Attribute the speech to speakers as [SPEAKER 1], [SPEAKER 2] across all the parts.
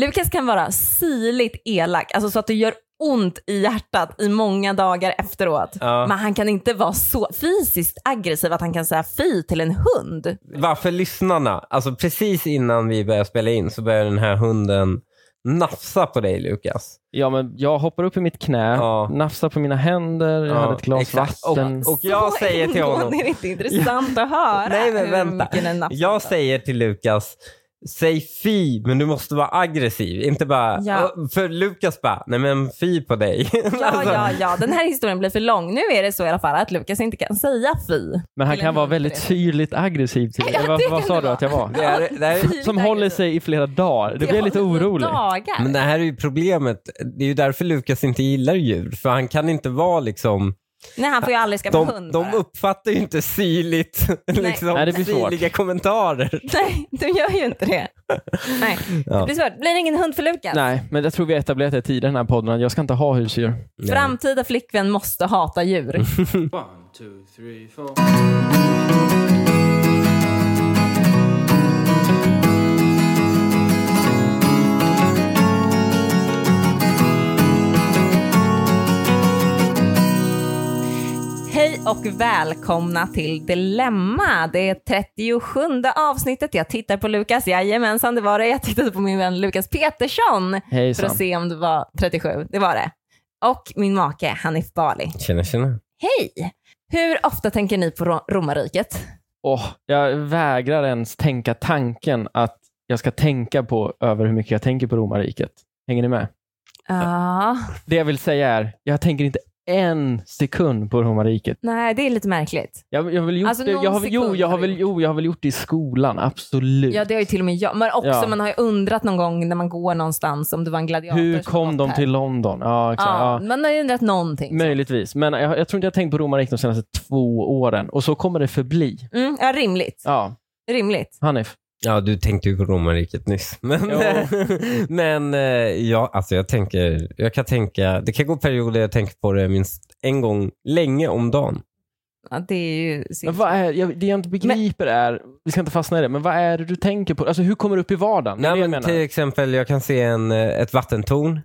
[SPEAKER 1] Lukas kan vara syrligt elak, alltså så att det gör ont i hjärtat i många dagar efteråt. Men han kan inte vara så fysiskt aggressiv att han kan säga fy till en hund.
[SPEAKER 2] Varför lyssnarna? Alltså precis innan vi börjar spela in så börjar den här hunden nafsa på dig Lukas.
[SPEAKER 3] Ja, men jag hoppar upp i mitt knä,
[SPEAKER 2] Ja.
[SPEAKER 3] nafsar på mina händer, jag hade ett glas
[SPEAKER 2] exakt.
[SPEAKER 3] vatten.
[SPEAKER 2] Och, och jag
[SPEAKER 1] Så
[SPEAKER 2] säger till
[SPEAKER 1] ingående
[SPEAKER 2] honom.
[SPEAKER 1] är det inte intressant att höra.
[SPEAKER 2] Nej men
[SPEAKER 1] hur
[SPEAKER 2] vänta.
[SPEAKER 1] mycket den nafsar.
[SPEAKER 2] Jag säger till Lukas, säg fy men du måste vara aggressiv. Inte bara,
[SPEAKER 1] Ja.
[SPEAKER 2] för Lukas bara, nej men fy på dig.
[SPEAKER 1] Ja, ja,
[SPEAKER 2] Alltså.
[SPEAKER 1] ja, den här historien blir för lång. Nu är det så i alla fall att Lukas inte kan säga fy.
[SPEAKER 3] Men han
[SPEAKER 1] Till en
[SPEAKER 3] kan vara
[SPEAKER 1] hund,
[SPEAKER 3] väldigt
[SPEAKER 1] det.
[SPEAKER 3] tydligt aggressiv till mig.
[SPEAKER 1] Ja,
[SPEAKER 3] vad,
[SPEAKER 1] det
[SPEAKER 3] vad
[SPEAKER 1] kan
[SPEAKER 3] sa
[SPEAKER 1] det
[SPEAKER 3] du att jag var?
[SPEAKER 2] Det är, det är,
[SPEAKER 3] Som håller sig i flera dagar. Det blir jag lite orolig.
[SPEAKER 1] Dagar.
[SPEAKER 2] men det här är ju problemet. Det är ju därför Lukas inte gillar djur. För han kan inte vara liksom...
[SPEAKER 1] Nej, han får ju aldrig skaffa
[SPEAKER 2] De,
[SPEAKER 1] hund.
[SPEAKER 2] de
[SPEAKER 1] bara.
[SPEAKER 2] uppfattar ju inte syrligt, liksom,
[SPEAKER 3] Nej, det blir svårt.
[SPEAKER 2] syrliga kommentarer.
[SPEAKER 1] Nej, de gör ju inte det. Nej,
[SPEAKER 2] Ja.
[SPEAKER 1] det blir svårt. Blir det ingen hund för Lukas?
[SPEAKER 3] Nej, men jag tror vi har etablerat det tidigare i den här podden. att Jag ska inte ha husdjur.
[SPEAKER 1] Framtida flickvän måste hata djur.
[SPEAKER 4] One, two, three, four.
[SPEAKER 1] Hej och välkomna till Dilemma. Det är 37 avsnittet. Jag tittar på Lukas. Jajamensan, det var det. Jag tittade på min vän Lukas Petersson för
[SPEAKER 3] Hejsan.
[SPEAKER 1] att se om det var 37. Det var det. Och min make Hanif Bali.
[SPEAKER 2] Tjena, tjena.
[SPEAKER 1] Hej! Hur ofta tänker ni på Ro- romarriket?
[SPEAKER 3] Åh, jag vägrar ens tänka tanken att jag ska tänka på över hur mycket jag tänker på romarriket. Hänger ni med?
[SPEAKER 1] Ja,
[SPEAKER 3] Det jag vill säga är, jag tänker inte en sekund på romarriket.
[SPEAKER 1] nej det är lite märkligt.
[SPEAKER 3] Jag, jag, vill gjort
[SPEAKER 1] Alltså,
[SPEAKER 3] det.
[SPEAKER 1] någon
[SPEAKER 3] jag, har, väl- jo,
[SPEAKER 1] sekund
[SPEAKER 3] jag,
[SPEAKER 1] har
[SPEAKER 3] har
[SPEAKER 1] du
[SPEAKER 3] väl,
[SPEAKER 1] gjort.
[SPEAKER 3] jo, jag har väl gjort det i skolan, absolut.
[SPEAKER 1] Ja, det har ju till och med jag. Men också,
[SPEAKER 3] Ja.
[SPEAKER 1] man har ju undrat någon gång när man går någonstans om det var en gladiator
[SPEAKER 3] Hur
[SPEAKER 1] som
[SPEAKER 3] kom
[SPEAKER 1] gått
[SPEAKER 3] de
[SPEAKER 1] här.
[SPEAKER 3] till London? Ja, exakt.
[SPEAKER 1] Ja,
[SPEAKER 3] Ja.
[SPEAKER 1] man har ju undrat någonting.
[SPEAKER 3] Möjligtvis, men jag, jag tror inte jag har tänkt på romarriket de senaste två åren och så kommer det förbli.
[SPEAKER 1] Mm, ja, rimligt.
[SPEAKER 3] Ja,
[SPEAKER 1] Rimligt.
[SPEAKER 3] Hanif.
[SPEAKER 2] Ja, du tänkte ju på romarriket nyss. Men,
[SPEAKER 3] Jo.
[SPEAKER 2] men eh, ja, alltså jag tänker, jag kan tänka, det kan gå perioder jag tänker på det minst en gång länge om dagen.
[SPEAKER 1] Ja, det är ju
[SPEAKER 3] Men
[SPEAKER 1] synd.
[SPEAKER 3] vad är, jag, det jag inte begriper är, vi ska inte fastna i det, men vad är det du tänker på? Alltså hur kommer det upp i vardagen? Det är
[SPEAKER 2] Nej,
[SPEAKER 3] det
[SPEAKER 2] men
[SPEAKER 3] jag menar.
[SPEAKER 2] till exempel, jag kan se en, eh, ett vattentorn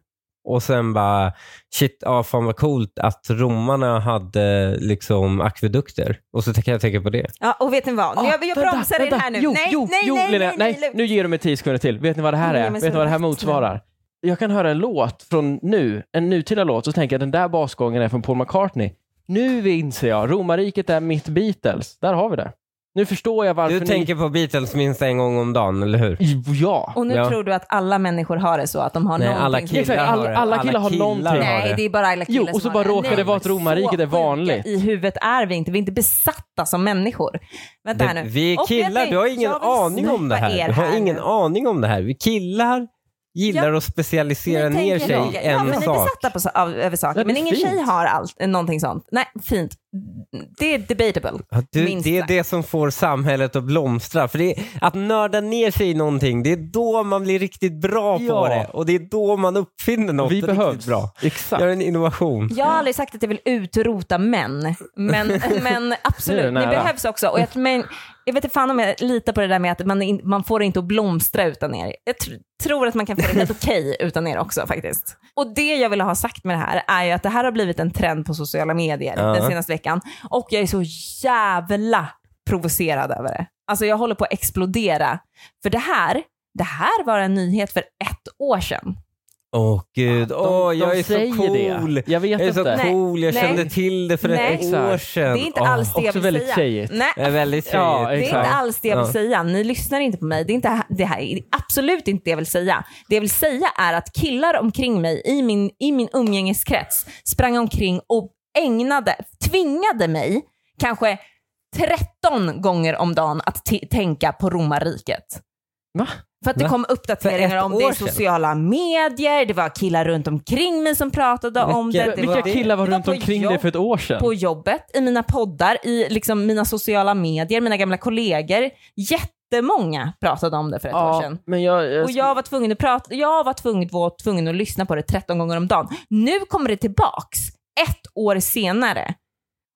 [SPEAKER 2] och sen bara, shit, ja, fan vad coolt att romarna hade eh, liksom akvedukter. Och så kan jag tänka på det.
[SPEAKER 1] Ja, och vet ni vad?
[SPEAKER 3] Ah,
[SPEAKER 1] jag jag
[SPEAKER 3] vänta,
[SPEAKER 1] bromsar
[SPEAKER 3] vänta.
[SPEAKER 1] er här nu.
[SPEAKER 3] Jo,
[SPEAKER 1] nej,
[SPEAKER 3] jo,
[SPEAKER 1] nej,
[SPEAKER 3] jo,
[SPEAKER 1] nej,
[SPEAKER 3] Linnea,
[SPEAKER 1] nej, nej, nej,
[SPEAKER 3] Nu ger du mig tio sekunder till. Vet ni vad det här
[SPEAKER 1] Nej,
[SPEAKER 3] är?
[SPEAKER 1] men
[SPEAKER 3] Vet ni vad det här
[SPEAKER 1] snälla.
[SPEAKER 3] motsvarar? Jag kan höra en låt från nu, en nutida låt, och så tänker jag den där basgången är från Paul McCartney. Nu inser jag, romarriket är mitt Beatles. Där har vi det. Nu förstår jag varför
[SPEAKER 2] Du tänker på Beatles minst en gång om dagen, eller hur?
[SPEAKER 3] ni... Ja.
[SPEAKER 1] Och nu
[SPEAKER 2] Ja.
[SPEAKER 1] tror du att alla människor har det så att de har
[SPEAKER 2] Nej,
[SPEAKER 1] någonting.
[SPEAKER 2] alla
[SPEAKER 1] som-
[SPEAKER 2] killar
[SPEAKER 3] Exakt, alla-
[SPEAKER 2] har det.
[SPEAKER 3] alla killar har någonting.
[SPEAKER 2] har
[SPEAKER 1] Nej,
[SPEAKER 2] det.
[SPEAKER 1] det är bara alla killar
[SPEAKER 3] Jo, och så
[SPEAKER 1] som har
[SPEAKER 3] bara
[SPEAKER 1] det.
[SPEAKER 3] råkar
[SPEAKER 1] Nej,
[SPEAKER 3] det vara att
[SPEAKER 1] så
[SPEAKER 3] romarriket
[SPEAKER 1] sjuka
[SPEAKER 3] är vanligt.
[SPEAKER 1] I huvudet är vi inte. Vi är inte besatta som människor. Vänta här
[SPEAKER 2] Det-
[SPEAKER 1] nu.
[SPEAKER 2] Vi är
[SPEAKER 1] Och jag
[SPEAKER 2] killar, du har
[SPEAKER 1] tänkte-
[SPEAKER 2] ingen
[SPEAKER 1] jag vill
[SPEAKER 2] aning om det
[SPEAKER 1] snipa
[SPEAKER 2] här.
[SPEAKER 1] er
[SPEAKER 2] Du har ingen
[SPEAKER 1] nu.
[SPEAKER 2] aning om det här. Vi killar gillar att specialisera
[SPEAKER 1] Ni
[SPEAKER 2] ner
[SPEAKER 1] tänker
[SPEAKER 2] sig
[SPEAKER 1] olika.
[SPEAKER 2] i
[SPEAKER 1] ja,
[SPEAKER 2] en
[SPEAKER 1] men Ni är
[SPEAKER 2] sak.
[SPEAKER 1] besatta på, sa- av, över saker,
[SPEAKER 3] Ja, det
[SPEAKER 1] men
[SPEAKER 3] är
[SPEAKER 1] ingen
[SPEAKER 3] fint.
[SPEAKER 1] tjej har allt, eh, någonting sånt. Nej, fint. Det är debatable.
[SPEAKER 2] Ja, du,
[SPEAKER 1] minst
[SPEAKER 2] det är
[SPEAKER 1] sagt.
[SPEAKER 2] det som får samhället att blomstra. För det är, att nörda ner sig i någonting, det är då man blir riktigt bra på
[SPEAKER 3] Ja.
[SPEAKER 2] det. Och det är då man uppfinner något
[SPEAKER 3] Vi
[SPEAKER 2] riktigt
[SPEAKER 3] behövs.
[SPEAKER 2] bra.
[SPEAKER 3] Exakt.
[SPEAKER 2] Gör en innovation.
[SPEAKER 1] Jag har aldrig sagt att jag vill utrota män, men, men
[SPEAKER 3] Nu är
[SPEAKER 1] absolut,
[SPEAKER 3] det
[SPEAKER 1] ni
[SPEAKER 3] nära.
[SPEAKER 1] behövs också. Och jag, men, jag vet inte fan om jag litar på det där med att man, in, man får det inte att blomstra utan er. Jag tr- tror att man kan få det helt okej utan er också faktiskt. Och det jag vill ha sagt med det här är ju att det här har blivit en trend på sociala medier
[SPEAKER 2] Ja.
[SPEAKER 1] den senaste veckan. Och jag är så jävla provocerad över det. Alltså jag håller på att explodera. För det här, det här var en nyhet för ett år sedan.
[SPEAKER 2] Åh gud,
[SPEAKER 3] De-
[SPEAKER 2] åh
[SPEAKER 3] de
[SPEAKER 2] jag är
[SPEAKER 3] säger
[SPEAKER 2] så cool.
[SPEAKER 3] Det. Jag vet
[SPEAKER 2] Jag är så
[SPEAKER 3] inte.
[SPEAKER 1] Nej,
[SPEAKER 2] cool, jag
[SPEAKER 1] nej.
[SPEAKER 2] kände till det för
[SPEAKER 1] Nej.
[SPEAKER 2] ett år
[SPEAKER 3] Exakt.
[SPEAKER 2] sedan.
[SPEAKER 1] Det är inte
[SPEAKER 2] Åh,
[SPEAKER 1] alls det jag
[SPEAKER 3] också
[SPEAKER 1] vill
[SPEAKER 3] väldigt
[SPEAKER 1] säga.
[SPEAKER 3] tjejigt.
[SPEAKER 1] Nej,
[SPEAKER 2] Det är väldigt
[SPEAKER 3] Ja, eh,
[SPEAKER 2] tjejigt.
[SPEAKER 1] Det är inte
[SPEAKER 3] Exakt.
[SPEAKER 1] alls det jag vill
[SPEAKER 2] Ja.
[SPEAKER 1] säga. Ni lyssnar inte på mig. Det, är inte, det här är absolut inte det jag vill säga. Det jag vill säga är att killar omkring mig i min, i min umgängeskrets sprang omkring och ägnade, tvingade mig kanske 13 gånger om dagen att t- tänka på romarriket.
[SPEAKER 3] Va?
[SPEAKER 1] För att det
[SPEAKER 2] Va?
[SPEAKER 1] kom
[SPEAKER 2] För
[SPEAKER 1] uppdateringar
[SPEAKER 2] ett
[SPEAKER 1] om det
[SPEAKER 2] år
[SPEAKER 1] i
[SPEAKER 2] sedan?
[SPEAKER 1] sociala medier, det var killar runt omkring mig som pratade om det.
[SPEAKER 2] Vilka-
[SPEAKER 1] det
[SPEAKER 3] Vilka
[SPEAKER 1] var-
[SPEAKER 3] killar var
[SPEAKER 1] det var
[SPEAKER 3] runt
[SPEAKER 1] på
[SPEAKER 3] omkring
[SPEAKER 1] jobb-
[SPEAKER 3] dig för ett år sedan?
[SPEAKER 1] på jobbet, i mina poddar, i liksom mina sociala medier, mina gamla kollegor. Jättemånga pratade om det för ett år
[SPEAKER 3] ja,
[SPEAKER 1] sedan.
[SPEAKER 3] men jag, jag,
[SPEAKER 1] Och jag var tvungen att prata, jag var tvungen, var tvungen att lyssna på det 13 gånger om dagen. Nu kommer det tillbaks, ett år senare.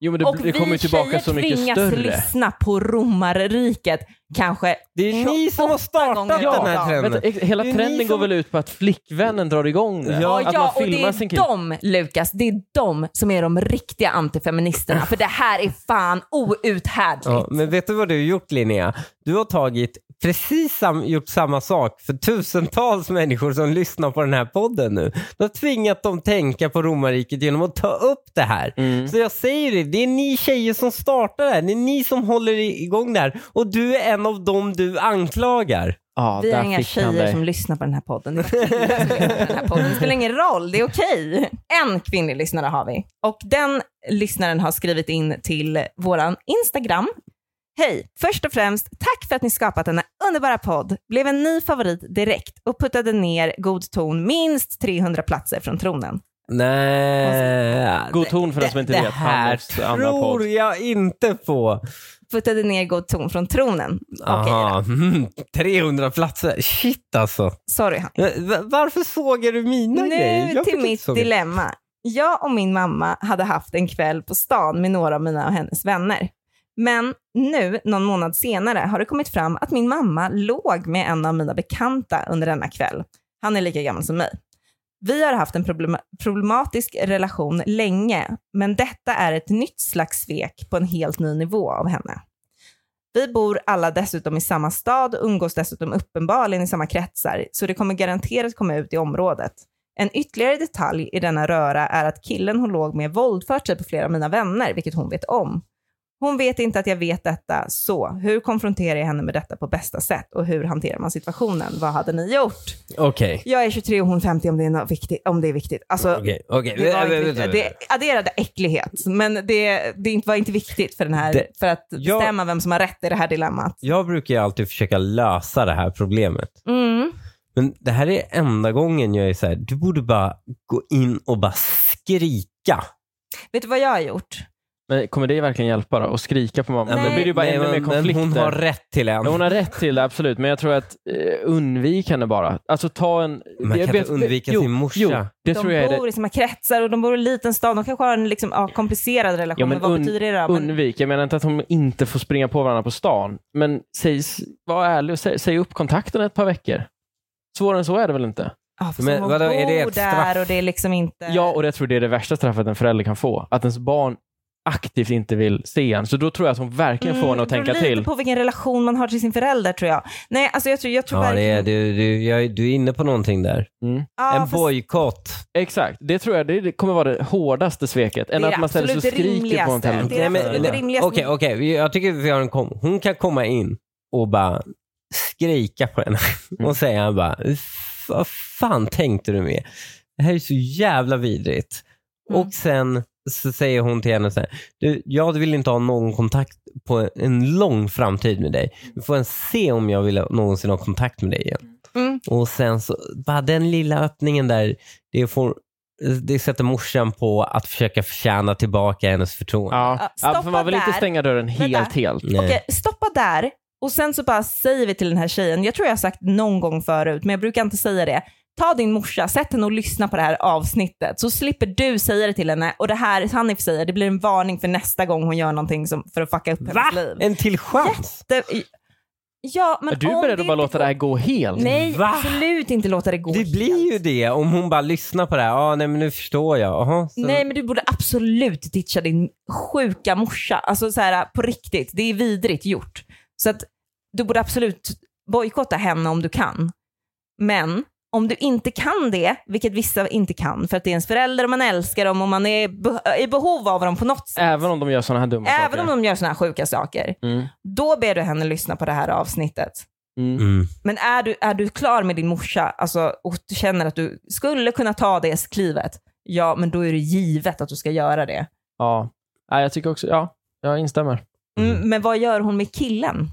[SPEAKER 3] Jo, men det,
[SPEAKER 1] och
[SPEAKER 3] det kommer ju
[SPEAKER 1] vi
[SPEAKER 3] tillbaka
[SPEAKER 1] tjejer
[SPEAKER 3] så mycket
[SPEAKER 1] tvingas
[SPEAKER 3] större.
[SPEAKER 1] lyssna på romarriket kanske
[SPEAKER 2] Det är ni som
[SPEAKER 1] 28
[SPEAKER 2] har startat
[SPEAKER 1] gånger
[SPEAKER 2] den
[SPEAKER 1] om dagen.
[SPEAKER 2] här trenden.
[SPEAKER 3] Vänta, ex- hela
[SPEAKER 2] Det är ni
[SPEAKER 3] trenden går
[SPEAKER 2] som-
[SPEAKER 3] väl ut på att flickvännen drar igång det?
[SPEAKER 2] Ja,
[SPEAKER 1] Ja,
[SPEAKER 3] att
[SPEAKER 1] ja
[SPEAKER 3] man
[SPEAKER 1] och det
[SPEAKER 3] filmar sin
[SPEAKER 1] är
[SPEAKER 3] kille.
[SPEAKER 1] de, Lukas, det är de som är de riktiga antifeministerna. För det här är fan outhärdligt.
[SPEAKER 2] Ja, men vet du vad du har gjort Linnea? Du har tagit precis sam, gjort samma sak för tusentals människor som lyssnar på den här podden nu. Du har tvingat dem tänka på romarriket genom att ta upp det här.
[SPEAKER 3] Mm.
[SPEAKER 2] Så jag säger det, det är ni tjejer som startar det här. Det är ni som håller i- igång det här. Och du är en av dem du anklagar.
[SPEAKER 3] Ja,
[SPEAKER 1] Vi har
[SPEAKER 3] där
[SPEAKER 1] inga
[SPEAKER 3] fick han
[SPEAKER 1] tjejer
[SPEAKER 3] dig.
[SPEAKER 1] som lyssnar på den här podden. Det, är bara killar som lyssnar på den här podden. det spelar ingen roll, det är okej. En kvinnlig lyssnare har vi. Och den lyssnaren har skrivit in till våran Instagram. Hej! Först och främst, tack för att ni skapat denna underbara podd. Blev en ny favorit direkt och puttade ner god ton minst 300 platser från tronen.
[SPEAKER 2] Nej.
[SPEAKER 3] God ton för den som inte
[SPEAKER 2] det
[SPEAKER 3] vet.
[SPEAKER 2] här
[SPEAKER 3] Hammers andra podd.
[SPEAKER 2] tror jag inte på.
[SPEAKER 1] Puttade ner god ton från tronen. Okej,
[SPEAKER 2] Aha, mm, 300 platser. Shit alltså.
[SPEAKER 1] sorry han.
[SPEAKER 2] Va- Varför sågar du mina grejer?
[SPEAKER 1] Nu
[SPEAKER 2] Jag fick
[SPEAKER 1] till
[SPEAKER 2] inte
[SPEAKER 1] mitt
[SPEAKER 2] såga.
[SPEAKER 1] dilemma. Jag och min mamma hade haft en kväll på stan med några av mina och hennes vänner. Men nu, någon månad senare, har det kommit fram att min mamma låg med en av mina bekanta under denna kväll. Han är lika gammal som mig. Vi har haft en problema- problematisk relation länge, men detta är ett nytt slags svek på en helt ny nivå av henne. Vi bor alla dessutom i samma stad och umgås dessutom uppenbarligen i samma kretsar, så det kommer garanterat komma ut i området. En ytterligare detalj i denna röra är att killen hon låg med våldfört sig på flera av mina vänner, vilket hon vet om. Hon vet inte att jag vet detta, så hur konfronterar jag henne med detta på bästa sätt och hur hanterar man situationen? Vad hade ni gjort?
[SPEAKER 2] Okej.
[SPEAKER 1] Jag är 23 och hon 50 om det är, nå- viktigt, om det är viktigt. Alltså,
[SPEAKER 2] Okej, okej.
[SPEAKER 1] det, var inte
[SPEAKER 2] Vänta,
[SPEAKER 1] viktigt.
[SPEAKER 2] vänta.
[SPEAKER 1] det adderade äcklighet, men det, det inte- var inte viktigt för, den här,
[SPEAKER 2] Det-
[SPEAKER 1] för att
[SPEAKER 2] jag-
[SPEAKER 1] bestämma vem som har rätt i det här dilemmat.
[SPEAKER 2] Jag brukar ju alltid försöka lösa det här problemet.
[SPEAKER 1] Mm.
[SPEAKER 2] Men det här är enda gången jag är så här, du borde bara gå in och bara skrika.
[SPEAKER 1] Vet du vad jag har gjort?
[SPEAKER 3] Men kommer det verkligen hjälpa då? Att skrika på mamma?
[SPEAKER 1] Nej.
[SPEAKER 3] Då blir det ju bara
[SPEAKER 2] Nej,
[SPEAKER 3] ännu mer
[SPEAKER 2] men, men
[SPEAKER 3] konflikter.
[SPEAKER 2] hon har rätt till en.
[SPEAKER 3] Ja, Hon har rätt till det, absolut. Men jag tror att eh, undvik henne bara. Alltså ta en...
[SPEAKER 2] Man
[SPEAKER 3] jag
[SPEAKER 2] kan
[SPEAKER 3] vet-
[SPEAKER 2] inte undvika
[SPEAKER 3] jo,
[SPEAKER 2] sin morsa.
[SPEAKER 3] Jo, det
[SPEAKER 1] de
[SPEAKER 3] tror jag är
[SPEAKER 1] bor
[SPEAKER 3] det.
[SPEAKER 1] i samma kretsar och de bor i en liten stad. De kanske har en liksom, ja, komplicerad relation.
[SPEAKER 3] Ja, men
[SPEAKER 1] men vad
[SPEAKER 3] un-
[SPEAKER 1] betyder det då? Men,
[SPEAKER 3] Undvik. Jag menar inte att de inte får springa på varandra på stan. Men säg, var ärlig och säg, säg upp kontakten ett par veckor. Svårare än så är det väl inte?
[SPEAKER 1] ja, för
[SPEAKER 2] Men
[SPEAKER 1] som hon
[SPEAKER 2] vadå, är det
[SPEAKER 1] bor
[SPEAKER 2] ett straff?
[SPEAKER 1] där och det är liksom inte...
[SPEAKER 3] Ja, och jag tror det är det värsta straffet en förälder kan få. Att ens barn aktivt inte vill se en. Så då tror jag att hon verkligen får henne att
[SPEAKER 1] det beror
[SPEAKER 3] tänka till.
[SPEAKER 1] Mm, lite på vilken relation man har till sin förälder tror jag. Nej, alltså jag tror, jag tror
[SPEAKER 2] Ja, det
[SPEAKER 1] verkligen...
[SPEAKER 2] är, du, du, jag, du är inne på någonting där.
[SPEAKER 1] Ja,
[SPEAKER 2] en
[SPEAKER 1] fast
[SPEAKER 2] bojkott.
[SPEAKER 3] Mm. Exakt. Det tror jag det kommer vara det hårdaste sveket. Än
[SPEAKER 1] Det är
[SPEAKER 3] att
[SPEAKER 1] det
[SPEAKER 3] man ställer sig och
[SPEAKER 1] absolut
[SPEAKER 3] skriker på
[SPEAKER 1] rimligaste.
[SPEAKER 3] en telefon.
[SPEAKER 1] Det är det absolut
[SPEAKER 2] eller-
[SPEAKER 1] rimligaste.
[SPEAKER 2] Okej, okej. Vi- Jag tycker vi har en kom. Hon kan komma in och bara skrika på henne och säga bara, vad fan tänkte du med? Det här är så jävla vidrigt.
[SPEAKER 1] Mm.
[SPEAKER 2] Och sen så säger hon till henne så här, du, jag vill inte ha någon kontakt på en lång framtid med dig. Vi får se om jag vill ha- någonsin ha kontakt med dig igen.
[SPEAKER 3] Eh.
[SPEAKER 1] Mm.
[SPEAKER 2] Och sen så, bara den lilla öppningen där, det, får, det sätter morsan på att försöka förtjäna tillbaka hennes förtroende.
[SPEAKER 1] Ja,
[SPEAKER 3] Ja, ja, för
[SPEAKER 1] stoppa
[SPEAKER 3] man vill inte
[SPEAKER 1] där.
[SPEAKER 3] stänga dörren helt,
[SPEAKER 1] Vänta.
[SPEAKER 3] helt.
[SPEAKER 2] Nej.
[SPEAKER 1] Okej, stoppa där och sen så bara säger vi till den här tjejen, jag tror jag har sagt någon gång förut, men jag brukar inte säga det. Ta din morsa, sätt henne och lyssna på det här avsnittet så slipper du säga det till henne och det här Hanif säger, det blir en varning för nästa gång hon gör någonting som, för att fucka upp hennes liv.
[SPEAKER 2] En till chans?
[SPEAKER 1] Det, ja, men
[SPEAKER 3] Är du
[SPEAKER 1] om
[SPEAKER 3] beredd
[SPEAKER 1] det
[SPEAKER 3] att bara
[SPEAKER 1] inte
[SPEAKER 3] låta
[SPEAKER 1] går-
[SPEAKER 3] det här gå helt?
[SPEAKER 1] Nej,
[SPEAKER 2] Va?
[SPEAKER 1] absolut inte låta det gå.
[SPEAKER 2] Det blir ju det om hon bara lyssnar på det här. ah, nej men nu förstår jag. Aha, sen,
[SPEAKER 1] Nej, men du borde absolut ditcha din sjuka morsa. Alltså så här på riktigt, det är vidrigt gjort. Så att du borde absolut bojkotta henne om du kan. Men om du inte kan det, vilket vissa inte kan, för att det är ens förälder och man älskar dem och man är be- i behov av dem på något sätt.
[SPEAKER 3] Även om de gör sådana här dumma
[SPEAKER 1] Även
[SPEAKER 3] saker?
[SPEAKER 1] om de gör såna här sjuka saker.
[SPEAKER 3] Mm.
[SPEAKER 1] Då ber du henne lyssna på det här avsnittet.
[SPEAKER 3] Mm.
[SPEAKER 2] Mm.
[SPEAKER 1] Men är du, är du klar med din morsa alltså, och du känner att du skulle kunna ta det klivet, ja men då är det givet att du ska göra det.
[SPEAKER 3] Ja. Nej, jag tycker också, ja, jag instämmer.
[SPEAKER 1] Mm.
[SPEAKER 2] Mm.
[SPEAKER 1] Men vad gör hon med killen?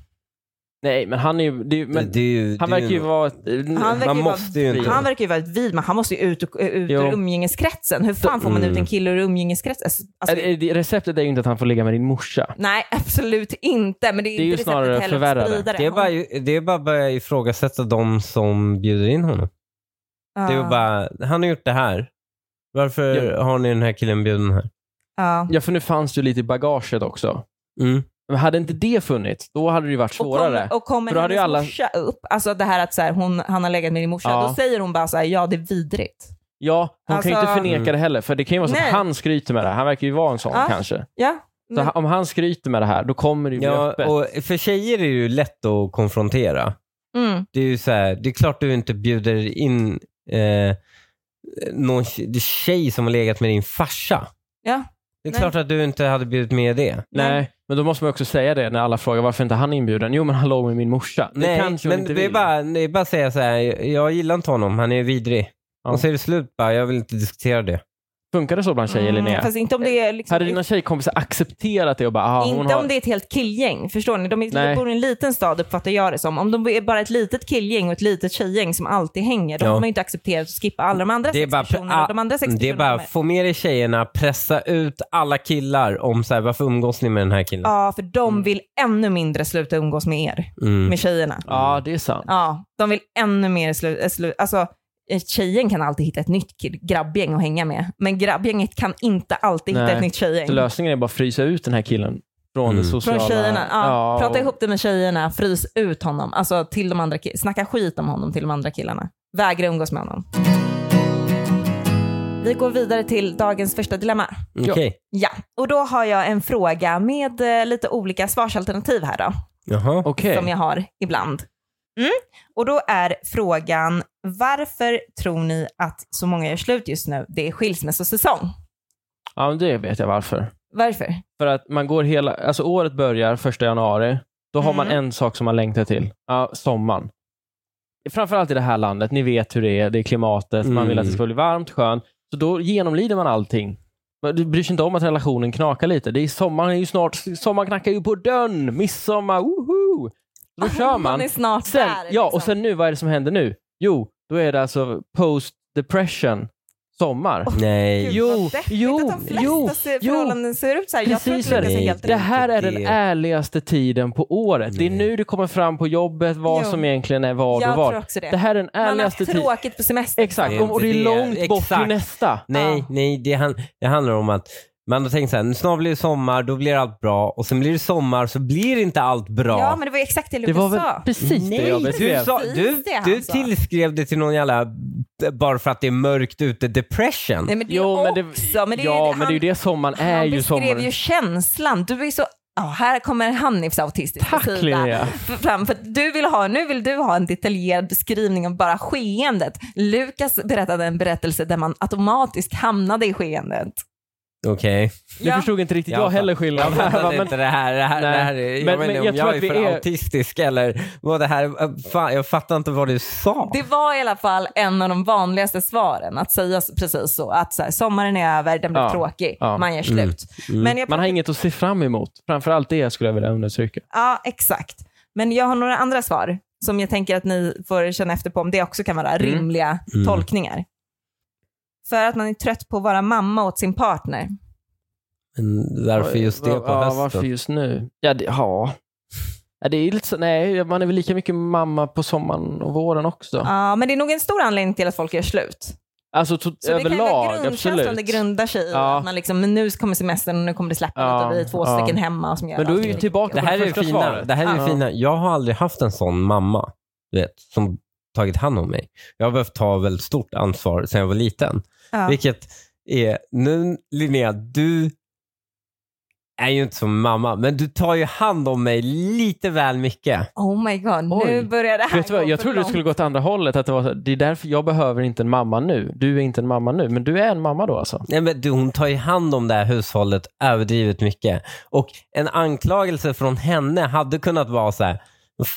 [SPEAKER 3] Nej, men han är ju, det är, ju- men,
[SPEAKER 2] det är ju,
[SPEAKER 3] han
[SPEAKER 2] det är
[SPEAKER 3] verkar ju vara...
[SPEAKER 1] verkar
[SPEAKER 2] Man
[SPEAKER 3] Han
[SPEAKER 1] ju vara-
[SPEAKER 2] måste ju inte.
[SPEAKER 1] Han verkar ju vara ett vid, men han måste ju ut, och, ut
[SPEAKER 3] Jo.
[SPEAKER 1] ur umgängeskretsen. Hur fan får man ut
[SPEAKER 2] Mm.
[SPEAKER 1] en kille ur umgängeskretsen? Alltså,
[SPEAKER 3] Receptet är ju inte att han får ligga med din morsa.
[SPEAKER 1] nej, absolut inte. Men det är,
[SPEAKER 3] Det är ju
[SPEAKER 1] inte receptet
[SPEAKER 3] snarare
[SPEAKER 1] heller att
[SPEAKER 3] förvärra det.
[SPEAKER 1] sprida
[SPEAKER 2] Det är bara, ju- det är bara att börja ifrågasätta de som bjuder in honom.
[SPEAKER 1] Ja. Ah.
[SPEAKER 2] Det är ju bara, han har gjort det här. Varför har ni den här killen bjuden här?
[SPEAKER 1] Ja.
[SPEAKER 3] Ja, för nu fanns det ju lite i bagaget också.
[SPEAKER 2] Mm.
[SPEAKER 3] Men hade inte det funnits, då hade det ju varit
[SPEAKER 1] Och kommer,
[SPEAKER 3] svårare.
[SPEAKER 1] och kommer
[SPEAKER 3] För då hade
[SPEAKER 1] hennes
[SPEAKER 3] ju alla-
[SPEAKER 1] morsa upp, alltså det här att så här, hon, han har legat med din morsa,
[SPEAKER 3] Ja.
[SPEAKER 1] då säger hon bara så här, ja det är vidrigt.
[SPEAKER 3] Ja, hon kan ju inte
[SPEAKER 1] Alltså-
[SPEAKER 3] förneka det heller, för det kan ju vara så
[SPEAKER 1] Nej.
[SPEAKER 3] att han skryter med det här. Han verkar ju vara en sån
[SPEAKER 1] Ja.
[SPEAKER 3] kanske.
[SPEAKER 1] Ja,
[SPEAKER 3] Så
[SPEAKER 1] men-
[SPEAKER 3] ha- om han skryter med det här, då kommer det ju bli
[SPEAKER 2] Ja,
[SPEAKER 3] öppet.
[SPEAKER 2] och för tjejer är det ju lätt att konfrontera.
[SPEAKER 1] mm.
[SPEAKER 2] Det är ju så här, det är klart du inte bjuder in eh, någon tje- tjej som har legat med din farsa.
[SPEAKER 1] ja.
[SPEAKER 2] Det är
[SPEAKER 1] Nej.
[SPEAKER 2] klart att du inte hade bjudit med det.
[SPEAKER 3] Nej, men då måste man också säga det när alla frågar varför inte han är inbjuden. Jo, men han låg med min morsa. Det
[SPEAKER 2] Nej,
[SPEAKER 3] kanske hon
[SPEAKER 2] men
[SPEAKER 3] inte
[SPEAKER 2] det är,
[SPEAKER 3] vill.
[SPEAKER 2] bara, det är bara att säga så här, jag gillar inte honom, han är vidrig.
[SPEAKER 3] Ja.
[SPEAKER 2] Och så är det slut bara, jag vill inte diskutera det.
[SPEAKER 3] Funkar det så bland tjejer, Linnea?
[SPEAKER 1] Mm, fast inte om det är liksom,
[SPEAKER 3] Hade dina tjejkompisar accepterat det och bara, ah, hon
[SPEAKER 1] inte
[SPEAKER 3] har...
[SPEAKER 1] om det är ett helt killgäng, förstår ni? De är,
[SPEAKER 3] Nej.
[SPEAKER 1] de bor i en liten stad uppfattar jag det som. Om de är bara ett litet killgäng och ett litet tjejgäng som alltid hänger, då
[SPEAKER 2] Ja.
[SPEAKER 1] har man ju inte accepterat att skippa alla de andra
[SPEAKER 2] Det är
[SPEAKER 1] sex
[SPEAKER 2] bara-
[SPEAKER 1] personerna.
[SPEAKER 2] ah,
[SPEAKER 1] de andra sex
[SPEAKER 2] Det är bara,
[SPEAKER 1] personerna med.
[SPEAKER 2] få med dig tjejerna, pressa ut alla killar om så här, varför umgås ni med den här killen?
[SPEAKER 1] Ja, för de vill ännu mindre sluta umgås med er,
[SPEAKER 2] Mm.
[SPEAKER 1] med tjejerna.
[SPEAKER 3] Ja, det är sant.
[SPEAKER 1] Ja, de vill ännu mer sluta... Slu, alltså, eh, tjejen kan alltid hitta ett nytt kill, grabbgäng att hänga med, men grabbgänget kan inte alltid
[SPEAKER 3] Nej.
[SPEAKER 1] hitta ett nytt tjejgäng.
[SPEAKER 3] Så lösningen är bara att frysa ut den här killen från
[SPEAKER 2] Mm.
[SPEAKER 3] det sociala.
[SPEAKER 1] Från tjejerna. Ja, prata
[SPEAKER 3] och-
[SPEAKER 1] ihop det med tjejerna, frys ut honom. Alltså till de andra ki- Snacka skit om honom till de andra killarna. Vägra umgås med honom. Vi går vidare till dagens första dilemma.
[SPEAKER 2] Okej.
[SPEAKER 1] Ja, och då har jag en fråga med eh, lite olika svarsalternativ här då,
[SPEAKER 2] Jaha.
[SPEAKER 3] Okej.
[SPEAKER 1] som jag har ibland. Mm. Och då är frågan, varför tror ni att så många gör slut just nu? Det är skilsmässosäsong.
[SPEAKER 3] Ja, men det vet jag varför.
[SPEAKER 1] Varför?
[SPEAKER 3] För att man går hela, alltså året börjar första januari. Då har man
[SPEAKER 1] Mm.
[SPEAKER 3] en sak som man längtar till. Ja, sommaren. Framförallt i det här landet. Ni vet hur det är. Det är klimatet. Man vill att det ska bli varmt, skönt. Så då genomlider man allting. Men Du bryr sig inte om att relationen knakar lite. Det är sommaren är ju snart. Sommaren knackar ju på dörren. Midsommar, woho! Då kör man.
[SPEAKER 1] Man är snart
[SPEAKER 3] Sen,
[SPEAKER 1] där.
[SPEAKER 3] ja,
[SPEAKER 1] liksom.
[SPEAKER 3] och sen nu, vad är det som händer nu? Jo, då är det alltså post depression sommar.
[SPEAKER 2] Nej.
[SPEAKER 1] Gud, vad
[SPEAKER 3] Jo,
[SPEAKER 1] deppigt
[SPEAKER 3] jo,
[SPEAKER 1] att de flesta
[SPEAKER 3] jo,
[SPEAKER 1] se-
[SPEAKER 3] jo.
[SPEAKER 1] förhållanden ser ut så här. Jag tror
[SPEAKER 3] Precis
[SPEAKER 1] inte det
[SPEAKER 3] så är
[SPEAKER 1] ser
[SPEAKER 2] det.
[SPEAKER 1] helt
[SPEAKER 3] Det
[SPEAKER 1] rätt.
[SPEAKER 3] här är den
[SPEAKER 2] Det-
[SPEAKER 3] ärligaste tiden på året. Det är
[SPEAKER 2] Nej.
[SPEAKER 3] nu det kommer fram på jobbet vad
[SPEAKER 1] Jo.
[SPEAKER 3] som egentligen är vad
[SPEAKER 1] Jag
[SPEAKER 3] och vad.
[SPEAKER 1] tror också det.
[SPEAKER 3] Det här är den
[SPEAKER 1] Man har
[SPEAKER 3] ärligaste
[SPEAKER 1] haft
[SPEAKER 3] tiden.
[SPEAKER 1] tråkigt på semester.
[SPEAKER 3] Exakt,
[SPEAKER 2] Det är
[SPEAKER 3] och och det
[SPEAKER 2] inte
[SPEAKER 3] är
[SPEAKER 2] det.
[SPEAKER 3] långt bort till
[SPEAKER 2] Exakt.
[SPEAKER 3] nästa.
[SPEAKER 2] Nej,
[SPEAKER 1] Ja.
[SPEAKER 2] nej det, han, det handlar om att man har tänkt så här, nu snart blir det sommar, då blir allt bra och sen blir det sommar så blir inte allt bra.
[SPEAKER 1] Ja, men det var ju exakt det
[SPEAKER 3] Det
[SPEAKER 1] Lukas
[SPEAKER 3] var väl
[SPEAKER 1] sa.
[SPEAKER 3] precis det jag
[SPEAKER 2] du,
[SPEAKER 3] beskrev.
[SPEAKER 2] sa,
[SPEAKER 1] Precis
[SPEAKER 2] du,
[SPEAKER 1] det han
[SPEAKER 2] du
[SPEAKER 1] sa.
[SPEAKER 2] tillskrev det till någon jävla, bara för att det är mörkt ute, depression.
[SPEAKER 1] Nej, men det
[SPEAKER 3] Jo, men det,
[SPEAKER 1] också. Men det är
[SPEAKER 3] ja,
[SPEAKER 1] ju,
[SPEAKER 3] men det är ju det sommaren
[SPEAKER 1] han,
[SPEAKER 3] är
[SPEAKER 1] han
[SPEAKER 3] ju
[SPEAKER 1] beskrev
[SPEAKER 3] sommaren.
[SPEAKER 1] ju känslan. Du är så... Ja, här kommer Hanifs autistiska
[SPEAKER 3] Tack,
[SPEAKER 1] sida
[SPEAKER 3] Linnea.
[SPEAKER 1] f- fram. För att du vill ha, nu vill du ha en detaljerad beskrivning av bara skeendet. Lukas berättade en berättelse där man automatiskt hamnade i skeendet.
[SPEAKER 2] Okej.
[SPEAKER 3] Nu förstod inte riktigt
[SPEAKER 2] Ja,
[SPEAKER 3] jag
[SPEAKER 2] fan.
[SPEAKER 3] heller
[SPEAKER 2] Jag
[SPEAKER 3] skillnaden.
[SPEAKER 2] fattade
[SPEAKER 3] Men-
[SPEAKER 2] inte det här. Det här, det här är,
[SPEAKER 3] Nej.
[SPEAKER 2] jag vet
[SPEAKER 3] Men- men
[SPEAKER 2] inte om
[SPEAKER 3] jag tror
[SPEAKER 2] jag är
[SPEAKER 3] att vi
[SPEAKER 2] för
[SPEAKER 3] är-
[SPEAKER 2] autistisk eller vad det här, fan, jag fattar inte vad du sa.
[SPEAKER 1] Det var i alla fall en av de vanligaste svaren, att säga precis så. Att så här, sommaren är över, den blir
[SPEAKER 3] Ja,
[SPEAKER 1] tråkig,
[SPEAKER 3] ja. Mm.
[SPEAKER 1] man gör slut. Men jag,
[SPEAKER 3] Man har inget att se fram emot. Framförallt det skulle jag vilja undersöka.
[SPEAKER 1] Ja, exakt. Men jag har några andra svar som jag tänker att ni får känna efter på om det också kan vara rimliga
[SPEAKER 2] Mm.
[SPEAKER 1] tolkningar. För att man är trött på att vara mamma åt sin partner.
[SPEAKER 2] Men varför just det på
[SPEAKER 3] ja,
[SPEAKER 2] hösten?
[SPEAKER 3] Varför just nu? Ja, det, ja. ja, det är lite så, nej, man är väl lika mycket mamma på sommaren och våren också.
[SPEAKER 1] Ja, men det är nog en stor anledning till att folk gör slut.
[SPEAKER 3] Alltså to-
[SPEAKER 1] Så det kan ju
[SPEAKER 3] överlag,
[SPEAKER 1] vara grundkänslan det
[SPEAKER 3] absolut.
[SPEAKER 1] grundar sig i.
[SPEAKER 3] Ja.
[SPEAKER 1] Att man liksom, men nu kommer semestern och nu kommer det släppa
[SPEAKER 3] Ja,
[SPEAKER 1] lite och vi är två
[SPEAKER 3] ja.
[SPEAKER 1] stycken hemma som gör
[SPEAKER 3] Men då är vi
[SPEAKER 1] allting.
[SPEAKER 3] ju tillbaka
[SPEAKER 2] Det
[SPEAKER 3] på
[SPEAKER 2] här
[SPEAKER 3] det
[SPEAKER 2] är
[SPEAKER 3] första
[SPEAKER 2] fina.
[SPEAKER 3] svaret.
[SPEAKER 2] Det här är
[SPEAKER 1] Ja.
[SPEAKER 2] fina. Jag har aldrig haft en sån mamma, du vet, som tagit hand om mig. Jag har behövt ta väldigt stort ansvar sedan jag var liten.
[SPEAKER 1] Ja.
[SPEAKER 2] Vilket är, nu Linnea, du är ju inte som mamma, men du tar ju hand om mig lite väl mycket.
[SPEAKER 1] Oh my god, nu
[SPEAKER 3] Oj.
[SPEAKER 1] börjar det här
[SPEAKER 3] Vet du vad,
[SPEAKER 1] gå
[SPEAKER 3] jag
[SPEAKER 1] för
[SPEAKER 3] trodde det
[SPEAKER 1] långt.
[SPEAKER 3] skulle gå åt andra hållet. Att det, var så, det är därför jag behöver inte en mamma nu. Du är inte en mamma nu, men du är en mamma då alltså.
[SPEAKER 2] Nej, men du, hon tar ju hand om det här hushållet överdrivet mycket. Och en anklagelse från henne hade kunnat vara så här,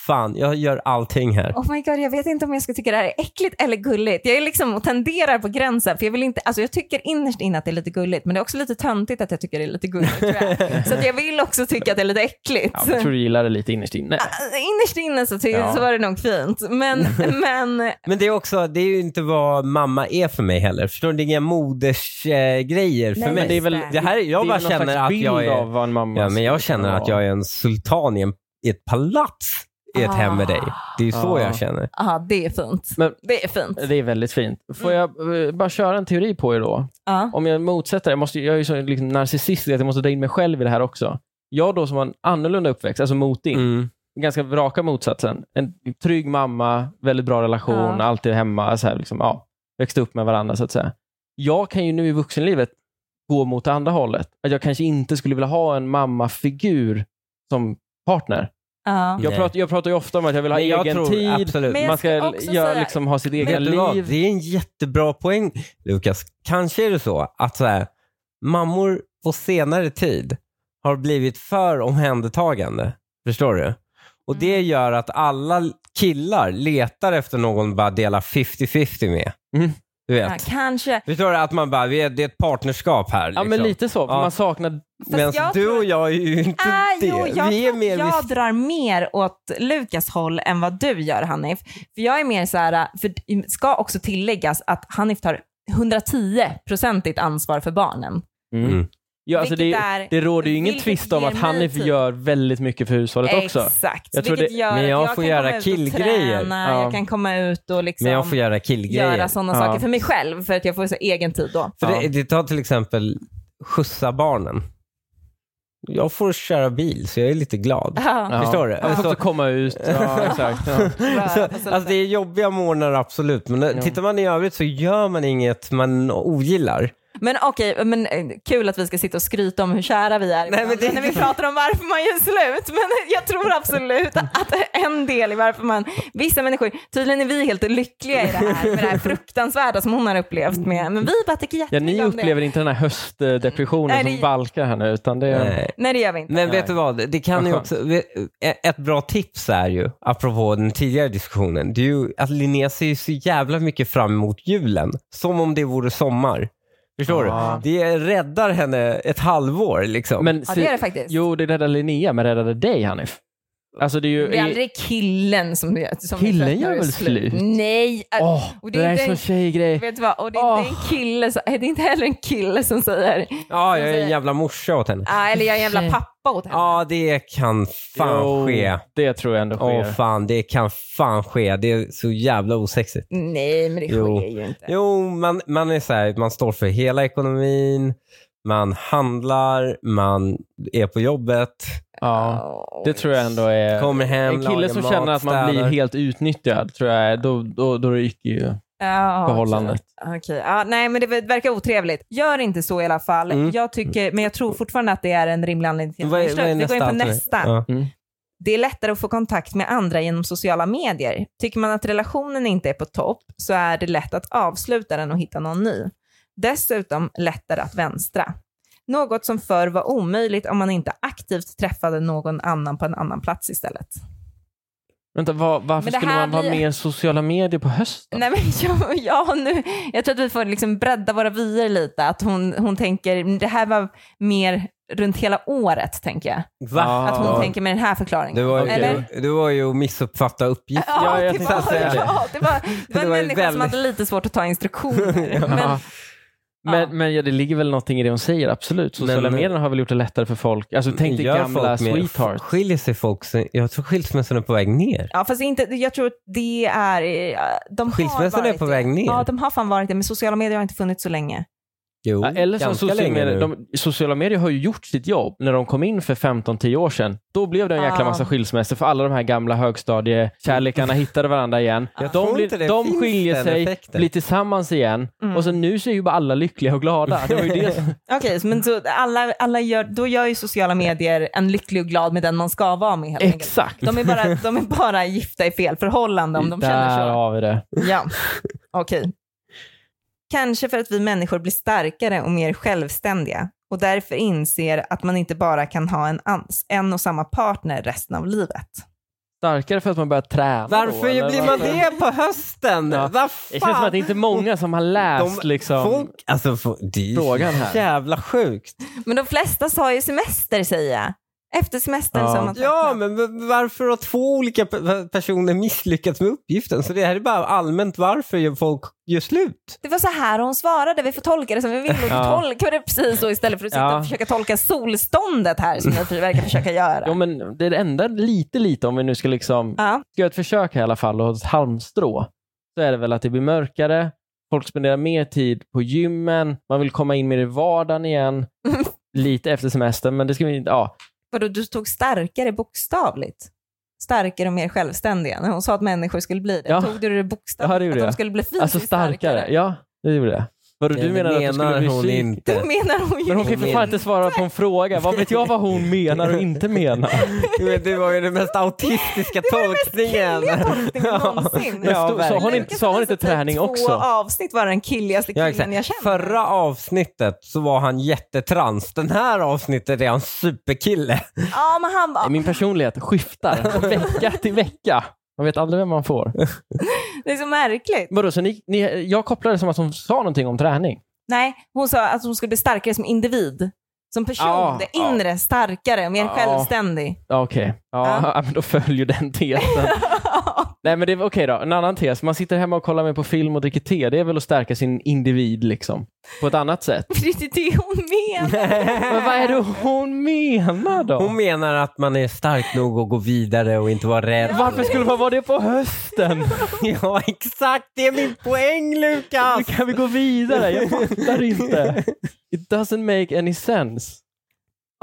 [SPEAKER 2] fan, jag gör allting här.
[SPEAKER 1] Oh my god, jag vet inte om jag ska tycka det här är äckligt eller gulligt. Jag är liksom och tenderar på gränsen, för jag vill inte, alltså jag tycker innerst inne att det är lite gulligt, men det är också lite töntigt att jag tycker det är lite gulligt tror jag. Så att jag vill också tycka att det är lite äckligt.
[SPEAKER 3] Ja, men jag tror du gillar det lite innerst inne.
[SPEAKER 1] Ah, Innerst inne så, ty-
[SPEAKER 3] Ja.
[SPEAKER 1] så var det nog fint, men, men
[SPEAKER 2] Men det är också, det är ju inte vad mamma är för mig heller. Förstår du? Det är inga modersgrejer eh, grejer för
[SPEAKER 1] Nej,
[SPEAKER 2] mig.
[SPEAKER 1] men det är väl-
[SPEAKER 2] det här, jag
[SPEAKER 3] det är
[SPEAKER 2] bara
[SPEAKER 3] väl någon
[SPEAKER 2] känner
[SPEAKER 3] slags
[SPEAKER 2] att
[SPEAKER 3] bild
[SPEAKER 2] jag är,
[SPEAKER 3] av vad en mamma
[SPEAKER 2] ja, men jag
[SPEAKER 3] skulle kunna
[SPEAKER 2] känner att
[SPEAKER 3] vara.
[SPEAKER 2] jag är en sultan i, en, i ett palats. i ett hem med dig. Det är ju så
[SPEAKER 3] Ah.
[SPEAKER 2] jag känner.
[SPEAKER 1] Ja, det är fint.
[SPEAKER 3] Men-
[SPEAKER 1] det är fint.
[SPEAKER 3] Det är väldigt fint. Får jag eh, bara köra en teori på er då?
[SPEAKER 1] Ja.
[SPEAKER 3] Om jag motsätter, jag, måste, jag är ju så liksom narcissistisk att jag måste dra in mig själv i det här också. Jag då som har en annorlunda uppväxt, alltså mot din,
[SPEAKER 2] Mm.
[SPEAKER 3] ganska raka motsatsen. En trygg mamma, väldigt bra relation,
[SPEAKER 1] Ja.
[SPEAKER 3] alltid hemma. Så här, liksom, ja, växte upp med varandra så att säga. Jag kan ju nu i vuxenlivet gå mot det andra hållet. Att jag kanske inte skulle vilja ha en mammafigur som partner.
[SPEAKER 1] Ja.
[SPEAKER 3] Jag
[SPEAKER 2] Nej.
[SPEAKER 3] pratar, jag pratar ju ofta om att jag vill ha
[SPEAKER 2] Men jag
[SPEAKER 3] egen
[SPEAKER 2] tror
[SPEAKER 3] tid.
[SPEAKER 2] absolut-
[SPEAKER 1] Men jag
[SPEAKER 3] Man
[SPEAKER 1] ska
[SPEAKER 3] ska
[SPEAKER 1] också
[SPEAKER 3] göra,
[SPEAKER 1] säga-
[SPEAKER 3] liksom, ha sitt egna
[SPEAKER 2] Vet du vad?
[SPEAKER 3] liv.
[SPEAKER 2] Det är en jättebra poäng, Lukas. Kanske är det så att så här, mammor på senare tid har blivit för omhändertagande. Förstår du? Och
[SPEAKER 1] Mm.
[SPEAKER 2] det gör att alla killar letar efter någon att bara dela 50-50 med.
[SPEAKER 3] Mm.
[SPEAKER 2] Du
[SPEAKER 1] Ja,
[SPEAKER 2] vet.
[SPEAKER 1] kanske.
[SPEAKER 2] Förstår du? Att man bara, vi är, det är ett partnerskap här.
[SPEAKER 3] Ja,
[SPEAKER 2] Liksom.
[SPEAKER 3] men lite så. för
[SPEAKER 2] Ja.
[SPEAKER 3] Man saknar...
[SPEAKER 1] Fast
[SPEAKER 2] Medan
[SPEAKER 1] jag
[SPEAKER 2] du
[SPEAKER 1] tror-
[SPEAKER 2] och jag är ju inte
[SPEAKER 1] Ah,
[SPEAKER 2] det.
[SPEAKER 1] jo, jag
[SPEAKER 2] vi
[SPEAKER 1] tror
[SPEAKER 2] är
[SPEAKER 1] att
[SPEAKER 2] mer liksom-
[SPEAKER 1] jag
[SPEAKER 2] vis-
[SPEAKER 1] drar mer åt Lukas håll än vad du gör Hanif. För jag är mer så här, för det ska också tilläggas att Hanif tar 110-procentigt ansvar för barnen.
[SPEAKER 2] Mm.
[SPEAKER 3] Ja, alltså det,
[SPEAKER 1] Vilket är-
[SPEAKER 3] det råder ju ingen
[SPEAKER 1] vilket
[SPEAKER 3] tvist om
[SPEAKER 1] ger
[SPEAKER 3] att
[SPEAKER 1] mig
[SPEAKER 3] Hanif
[SPEAKER 1] tid.
[SPEAKER 3] gör väldigt mycket för hushållet också.
[SPEAKER 1] Exakt.
[SPEAKER 3] Jag tror
[SPEAKER 1] Vilket
[SPEAKER 3] det-
[SPEAKER 1] gör
[SPEAKER 2] men
[SPEAKER 1] att
[SPEAKER 2] jag får
[SPEAKER 1] kan
[SPEAKER 2] göra
[SPEAKER 1] komma ut och
[SPEAKER 2] killgrejer.
[SPEAKER 1] Träna,
[SPEAKER 3] Ja.
[SPEAKER 1] Jag kan komma ut och liksom
[SPEAKER 2] Men jag får göra killgrejer.
[SPEAKER 1] göra sådana
[SPEAKER 3] Ja.
[SPEAKER 1] saker för mig själv för att jag får så egen tid då.
[SPEAKER 2] För
[SPEAKER 3] Ja.
[SPEAKER 2] det, det tar till exempel skjutsa barnen. Jag får köra bil så jag är lite glad.
[SPEAKER 1] Ja.
[SPEAKER 2] Förstår du?
[SPEAKER 3] Ja. Jag måste
[SPEAKER 2] Alltså-
[SPEAKER 3] komma ut. Ja, exakt. Ja.
[SPEAKER 2] Så,
[SPEAKER 1] Röra på sig
[SPEAKER 2] alltså
[SPEAKER 1] lite.
[SPEAKER 2] det är jobbiga morgnar absolut, men
[SPEAKER 3] Ja.
[SPEAKER 2] tittar man i övrigt så gör man inget man ogillar.
[SPEAKER 1] Men okej, men eh, kul att vi ska sitta och skryta om hur kära vi är.
[SPEAKER 2] Nej, men det-
[SPEAKER 1] När vi pratar om varför man gör slut. Men jag tror absolut att en del i varför man, vissa människor, tydligen är vi helt lyckliga i det här, med det här fruktansvärda som hon har upplevt med, men vi bara tycker
[SPEAKER 3] Ja,
[SPEAKER 1] jättemycket
[SPEAKER 3] ni
[SPEAKER 1] om det. Mm.
[SPEAKER 3] upplever inte den här höstdepressionen
[SPEAKER 1] Nej, det-
[SPEAKER 3] som valkar här nu, utan det är...
[SPEAKER 2] Nej.
[SPEAKER 1] Nej, det gör vi inte.
[SPEAKER 2] Eh, Men
[SPEAKER 3] Nej.
[SPEAKER 2] vet du vad, det kan ju
[SPEAKER 3] Vad
[SPEAKER 2] också, e- ett bra tips är ju, apropå den tidigare diskussionen, det är ju att Linnea ser ju så jävla mycket fram emot julen. Som om det vore sommar. Förstår
[SPEAKER 3] Ja.
[SPEAKER 2] du? Det räddar henne ett halvår liksom.
[SPEAKER 3] Men,
[SPEAKER 1] Ja, det är det faktiskt.
[SPEAKER 3] Jo, det räddade Linnea, men räddade dig Hanif. Alltså det är ju...
[SPEAKER 1] Det är aldrig killen som, gör- som
[SPEAKER 3] Killen
[SPEAKER 1] försöker
[SPEAKER 3] gör väl slut?
[SPEAKER 1] Nej, äh,
[SPEAKER 3] Åh,
[SPEAKER 1] Och
[SPEAKER 3] det,
[SPEAKER 1] det
[SPEAKER 3] där
[SPEAKER 1] är
[SPEAKER 3] är
[SPEAKER 1] inte
[SPEAKER 3] sån
[SPEAKER 1] en-
[SPEAKER 3] tjejgrej.
[SPEAKER 1] vet du vad, och det är inte en kille, som, det är inte heller en kille som säger,
[SPEAKER 2] ja, jag är en
[SPEAKER 1] säger-
[SPEAKER 2] jävla morsa åt henne.
[SPEAKER 1] ah, eller jag är en jävla
[SPEAKER 3] Shit.
[SPEAKER 1] pappa åt henne.
[SPEAKER 2] Ja, det kan fan
[SPEAKER 3] Jo,
[SPEAKER 2] ske.
[SPEAKER 3] Det tror jag ändå sker.
[SPEAKER 2] Åh fan, det kan fan ske. Det är så jävla osexigt.
[SPEAKER 1] Nej, men det
[SPEAKER 2] Jo.
[SPEAKER 1] sker ju inte.
[SPEAKER 2] Jo, man, man är så här, man står för hela ekonomin, man handlar, man är på jobbet,
[SPEAKER 3] ja, det tror jag ändå är...
[SPEAKER 2] kommer hem,
[SPEAKER 3] En kille
[SPEAKER 2] lagar
[SPEAKER 3] som
[SPEAKER 2] mat,
[SPEAKER 3] känner att man blir
[SPEAKER 2] städar.
[SPEAKER 3] helt utnyttjad, tror jag, är- då, då, då ryker ju
[SPEAKER 1] Ja,
[SPEAKER 3] förhållandet.
[SPEAKER 1] Okej, ja, nej men det verkar otrevligt. Gör inte så i alla fall.
[SPEAKER 2] Mm.
[SPEAKER 1] Jag tycker, men jag tror fortfarande att det är en rimlig anledning till att
[SPEAKER 2] Vad
[SPEAKER 1] vi
[SPEAKER 2] är, vad är
[SPEAKER 1] slutar. Vi går in på
[SPEAKER 2] alternativ?
[SPEAKER 1] nästa.
[SPEAKER 2] Ja.
[SPEAKER 1] Det är lättare att få kontakt med andra genom sociala medier. Tycker man att relationen inte är på topp så är det lätt att avsluta den och hitta någon ny. Dessutom lättare att vänstra. Något som förr var omöjligt om man inte aktivt träffade någon annan på en annan plats istället.
[SPEAKER 3] Vänta, var, varför
[SPEAKER 1] Men det
[SPEAKER 3] skulle
[SPEAKER 1] här
[SPEAKER 3] man vara
[SPEAKER 1] blir-
[SPEAKER 3] med i sociala medier på hösten?
[SPEAKER 1] Nej, men jag, jag, nu, jag tror att vi får liksom bredda våra vyer lite. Att hon, hon tänker, det här var mer runt hela året, tänker jag.
[SPEAKER 2] Va?
[SPEAKER 3] Ja.
[SPEAKER 1] Att hon tänker med den här förklaringen.
[SPEAKER 2] Det var, ju,
[SPEAKER 1] Eller?
[SPEAKER 2] det var ju att missuppfatta uppgifter.
[SPEAKER 1] Ja,
[SPEAKER 3] Ja, jag
[SPEAKER 1] det
[SPEAKER 3] tänkte
[SPEAKER 1] var,
[SPEAKER 3] säga det.
[SPEAKER 1] ja, det var, det var
[SPEAKER 2] Det
[SPEAKER 1] en
[SPEAKER 2] var ju
[SPEAKER 1] människa som
[SPEAKER 2] väldigt-
[SPEAKER 1] hade lite svårt att ta instruktioner. Men,
[SPEAKER 3] Ja. Men,
[SPEAKER 1] Ja.
[SPEAKER 3] men ja, det ligger väl någonting i det hon säger, absolut. Sociala
[SPEAKER 2] Men-
[SPEAKER 3] medier har väl gjort det lättare för folk. Alltså, tänk dig
[SPEAKER 2] Gör
[SPEAKER 3] gamla
[SPEAKER 2] folk mer-
[SPEAKER 3] sweethearts.
[SPEAKER 2] Skiljer sig folk? sig- Jag tror skilsmässan är på väg ner.
[SPEAKER 1] ja, fast inte, jag tror att det är... eh, De har
[SPEAKER 2] Skilsmässan är
[SPEAKER 1] varit
[SPEAKER 2] på
[SPEAKER 1] det.
[SPEAKER 2] väg ner.
[SPEAKER 1] Ja, de har fan varit det, men sociala medier har inte funnits så länge.
[SPEAKER 2] Jo,
[SPEAKER 3] Ja, eller som
[SPEAKER 2] ganska
[SPEAKER 3] sociala
[SPEAKER 2] länge
[SPEAKER 3] medier,
[SPEAKER 2] nu.
[SPEAKER 3] de, sociala medier har ju gjort sitt jobb. När de kom in för 15-10 år sedan, då blev det en jäkla
[SPEAKER 1] Ah.
[SPEAKER 3] massa skilsmässor för alla de här gamla högstadiekärlekarna hittade varandra igen.
[SPEAKER 2] Jag tror
[SPEAKER 3] De, blir,
[SPEAKER 2] inte det
[SPEAKER 3] de
[SPEAKER 2] finns
[SPEAKER 3] skiljer
[SPEAKER 2] den
[SPEAKER 3] sig,
[SPEAKER 2] effekten.
[SPEAKER 3] blir tillsammans igen
[SPEAKER 1] Mm.
[SPEAKER 3] och så nu så är ju bara alla lyckliga och glada. Det var ju det som...
[SPEAKER 1] Okej, så- men så alla, alla gör, då gör ju sociala medier en lycklig och glad med den man ska vara med helt enkelt.
[SPEAKER 3] Exakt!
[SPEAKER 1] De är, bara, de är bara gifta i fel förhållande om de
[SPEAKER 3] Där
[SPEAKER 1] känner så.
[SPEAKER 3] har vi det.
[SPEAKER 1] Ja, okej. Kanske för att vi människor blir starkare och mer självständiga och därför inser att man inte bara kan ha en, ans, en och samma partner resten av livet.
[SPEAKER 3] Starkare för att man börjar träna då, eller
[SPEAKER 2] Varför blir man det
[SPEAKER 3] varför?
[SPEAKER 2] på hösten?
[SPEAKER 3] Ja.
[SPEAKER 2] Vad fan?
[SPEAKER 3] Det känns som att det inte är många som har läst
[SPEAKER 2] De-
[SPEAKER 3] liksom...
[SPEAKER 2] Folk, alltså, fo- det är ju
[SPEAKER 3] Frågan här.
[SPEAKER 2] jävla sjukt.
[SPEAKER 1] Men de flesta har ju semester säger jag. Efter semestern
[SPEAKER 3] Ja.
[SPEAKER 1] så har man
[SPEAKER 2] Ja,
[SPEAKER 1] tröttnat.
[SPEAKER 2] men v- varför har två olika pe- pe- personer misslyckats med uppgiften? Så det här är bara allmänt varför gör folk gör slut.
[SPEAKER 1] Det var så här hon svarade, vi får tolka det som vi vill. Och
[SPEAKER 3] Ja.
[SPEAKER 1] tolka det precis så istället för att sitta
[SPEAKER 3] Ja.
[SPEAKER 1] och försöka tolka solståndet här som jag verkar försöka göra.
[SPEAKER 3] Jo, men det är det enda lite, lite om vi nu ska liksom
[SPEAKER 1] Ja.
[SPEAKER 3] ska göra ett försök här i alla fall och ha ett halmstrå så är det väl att det blir mörkare, folk spenderar mer tid på gymmen, man vill komma in mer i vardagen igen, lite efter semestern, men det ska vi inte... Ja.
[SPEAKER 1] Vadå, du tog starkare bokstavligt? Starkare och mer självständiga. När hon sa att människor skulle bli det,
[SPEAKER 3] Ja.
[SPEAKER 1] tog du det bokstavligt?
[SPEAKER 3] Ja, det gjorde
[SPEAKER 1] att de
[SPEAKER 3] jag.
[SPEAKER 1] skulle bli fysiskt
[SPEAKER 3] Alltså starkare. Ja, det gjorde det. Vadå, du
[SPEAKER 2] Det
[SPEAKER 3] menar, att du skulle bli
[SPEAKER 2] hon
[SPEAKER 3] psyk-
[SPEAKER 1] Det
[SPEAKER 2] inte.
[SPEAKER 1] menar hon ju.
[SPEAKER 3] Men hon kan ju för fan
[SPEAKER 2] Men-
[SPEAKER 3] inte svara på en fråga. Vad vet jag vad hon menar och inte menar?
[SPEAKER 2] Du vet, Det var ju den mest autistiska tolkningen.
[SPEAKER 1] Killiga tolkning någonsin. Alltså,
[SPEAKER 3] Men
[SPEAKER 2] Ja,
[SPEAKER 3] stod- sa hon
[SPEAKER 2] verkligen.
[SPEAKER 3] inte, sa hon inte
[SPEAKER 1] Typ
[SPEAKER 3] träning
[SPEAKER 1] Två
[SPEAKER 3] också?
[SPEAKER 1] avsnitt var den killigaste
[SPEAKER 2] Ja,
[SPEAKER 1] killen jag
[SPEAKER 2] exakt.
[SPEAKER 1] känner.
[SPEAKER 2] Förra avsnittet så var han jättetrans. Den här avsnittet är han superkille.
[SPEAKER 1] Ja, men han var...
[SPEAKER 3] Min personlighet skiftar från vecka till vecka. Man vet aldrig vem man får.
[SPEAKER 1] Det är så märkligt.
[SPEAKER 3] Vadå, så ni, ni, jag kopplade det som att hon sa någonting om träning.
[SPEAKER 1] Nej, hon sa att hon skulle bli starkare som individ. Som person,
[SPEAKER 3] Ja,
[SPEAKER 1] det
[SPEAKER 3] ja.
[SPEAKER 1] inre, starkare, mer
[SPEAKER 3] Ja.
[SPEAKER 1] självständig.
[SPEAKER 3] Ja, Okej, ja, men då följer den tesen. Nej men det var okej då, en annan tes. Man sitter hemma och kollar med på film och dricker te. Det är väl att stärka sin individ liksom. På ett annat sätt.
[SPEAKER 1] För det är det hon menar.
[SPEAKER 3] Men vad är det hon menar då?
[SPEAKER 2] Hon menar att man är stark nog att gå vidare och inte vara rädd.
[SPEAKER 3] Varför skulle man vara det på hösten?
[SPEAKER 2] Ja, exakt. Det är min poäng, Lukas.
[SPEAKER 3] Nu kan vi gå vidare, jag fattar inte. It doesn't make any sense.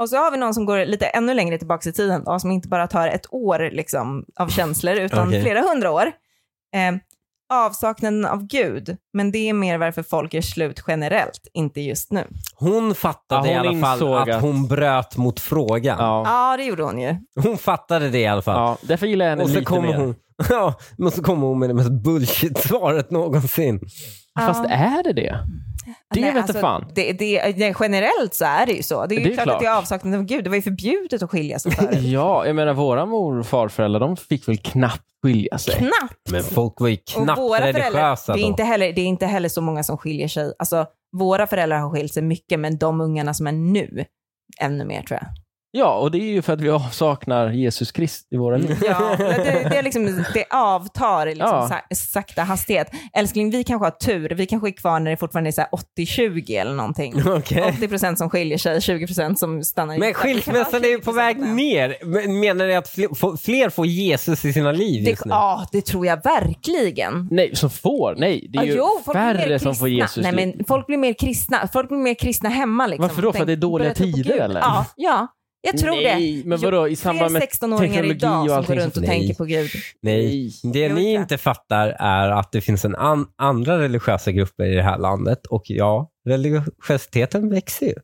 [SPEAKER 1] Och så har vi någon som går lite ännu längre tillbaka i tiden då, som inte bara tar ett år liksom, av känslor utan
[SPEAKER 2] Okej.
[SPEAKER 1] flera hundra år. Eh, avsaknaden av Gud, men det är mer varför folk gör slut generellt, inte just nu.
[SPEAKER 2] Hon fattade
[SPEAKER 3] Ja, hon
[SPEAKER 2] i alla fall
[SPEAKER 3] insåg
[SPEAKER 2] att,
[SPEAKER 3] att-
[SPEAKER 2] hon bröt mot frågan.
[SPEAKER 3] Ja.
[SPEAKER 1] Ja, det gjorde hon ju.
[SPEAKER 2] Hon fattade det i alla fall.
[SPEAKER 3] ja. Därför gillar jag henne
[SPEAKER 2] Och så
[SPEAKER 3] lite
[SPEAKER 2] kommer
[SPEAKER 3] mer.
[SPEAKER 2] hon, ja, men så kommer hon med det mest bullshit-svaret någonsin.
[SPEAKER 3] Fast
[SPEAKER 1] Ja.
[SPEAKER 3] är det det? Det
[SPEAKER 1] Nej,
[SPEAKER 3] vet alltså, fan.
[SPEAKER 1] Det, det, nej, generellt så är det ju så. Det är ju
[SPEAKER 3] Det är
[SPEAKER 1] klart, att
[SPEAKER 3] klart.
[SPEAKER 1] det är avsaknaden av Gud. Det var ju förbjudet att skilja sig förut.
[SPEAKER 3] Ja, jag menar våra mor och farföräldrar, de fick väl knappt skilja sig.
[SPEAKER 1] Knappt.
[SPEAKER 2] Men folk var ju knappt
[SPEAKER 1] Och våra
[SPEAKER 2] religiösa
[SPEAKER 1] föräldrar, det är,
[SPEAKER 2] då.
[SPEAKER 1] inte heller, det är inte heller så många som skiljer sig. Alltså, våra föräldrar har skilt sig mycket, men de ungarna som är nu, ännu mer tror jag.
[SPEAKER 3] Ja, och det är ju för att vi saknar Jesus Krist i våra liv.
[SPEAKER 1] Ja, det, det, är liksom, det avtar i liksom
[SPEAKER 3] Ja.
[SPEAKER 1] sa, sakta hastighet. Älskling, vi kanske har tur. Vi kanske är kvar när det fortfarande är så här 80-20 eller någonting.
[SPEAKER 2] Okej.
[SPEAKER 1] 80 som skiljer sig, 20 som stannar i-
[SPEAKER 2] Men
[SPEAKER 1] Det kan
[SPEAKER 2] skilsmässan är
[SPEAKER 1] vara
[SPEAKER 2] ju på väg
[SPEAKER 1] 20%.
[SPEAKER 2] ner. Men Menar ni att fl- få- fler får Jesus i sina liv
[SPEAKER 1] Det,
[SPEAKER 2] just nu?
[SPEAKER 1] ja, det tror jag verkligen.
[SPEAKER 3] Nej, som får? Nej, det är ju
[SPEAKER 1] Ja, jo, folk blir mer
[SPEAKER 3] färre
[SPEAKER 1] kristna.
[SPEAKER 3] som får Jesus.
[SPEAKER 1] Nej, men folk blir mer kristna. Folk blir mer kristna hemma. Liksom.
[SPEAKER 3] Varför då? För att det är dåliga
[SPEAKER 1] Börjar tro på
[SPEAKER 3] tider,
[SPEAKER 1] Gud.
[SPEAKER 3] eller?
[SPEAKER 1] Ja, ja, jag tror det.
[SPEAKER 3] Nej, men vadå, i samband med
[SPEAKER 1] Fler 16-åringar
[SPEAKER 3] teknologi
[SPEAKER 1] idag
[SPEAKER 3] och
[SPEAKER 1] som går
[SPEAKER 3] allting
[SPEAKER 1] runt
[SPEAKER 3] som-
[SPEAKER 1] och
[SPEAKER 2] Nej.
[SPEAKER 1] tänker på Gud.
[SPEAKER 2] Nej. Det
[SPEAKER 1] Jo,
[SPEAKER 2] ni
[SPEAKER 1] exakt.
[SPEAKER 2] inte fattar är att det finns en an- andra religiösa grupper i det här landet och ja, religiositeten växer ju.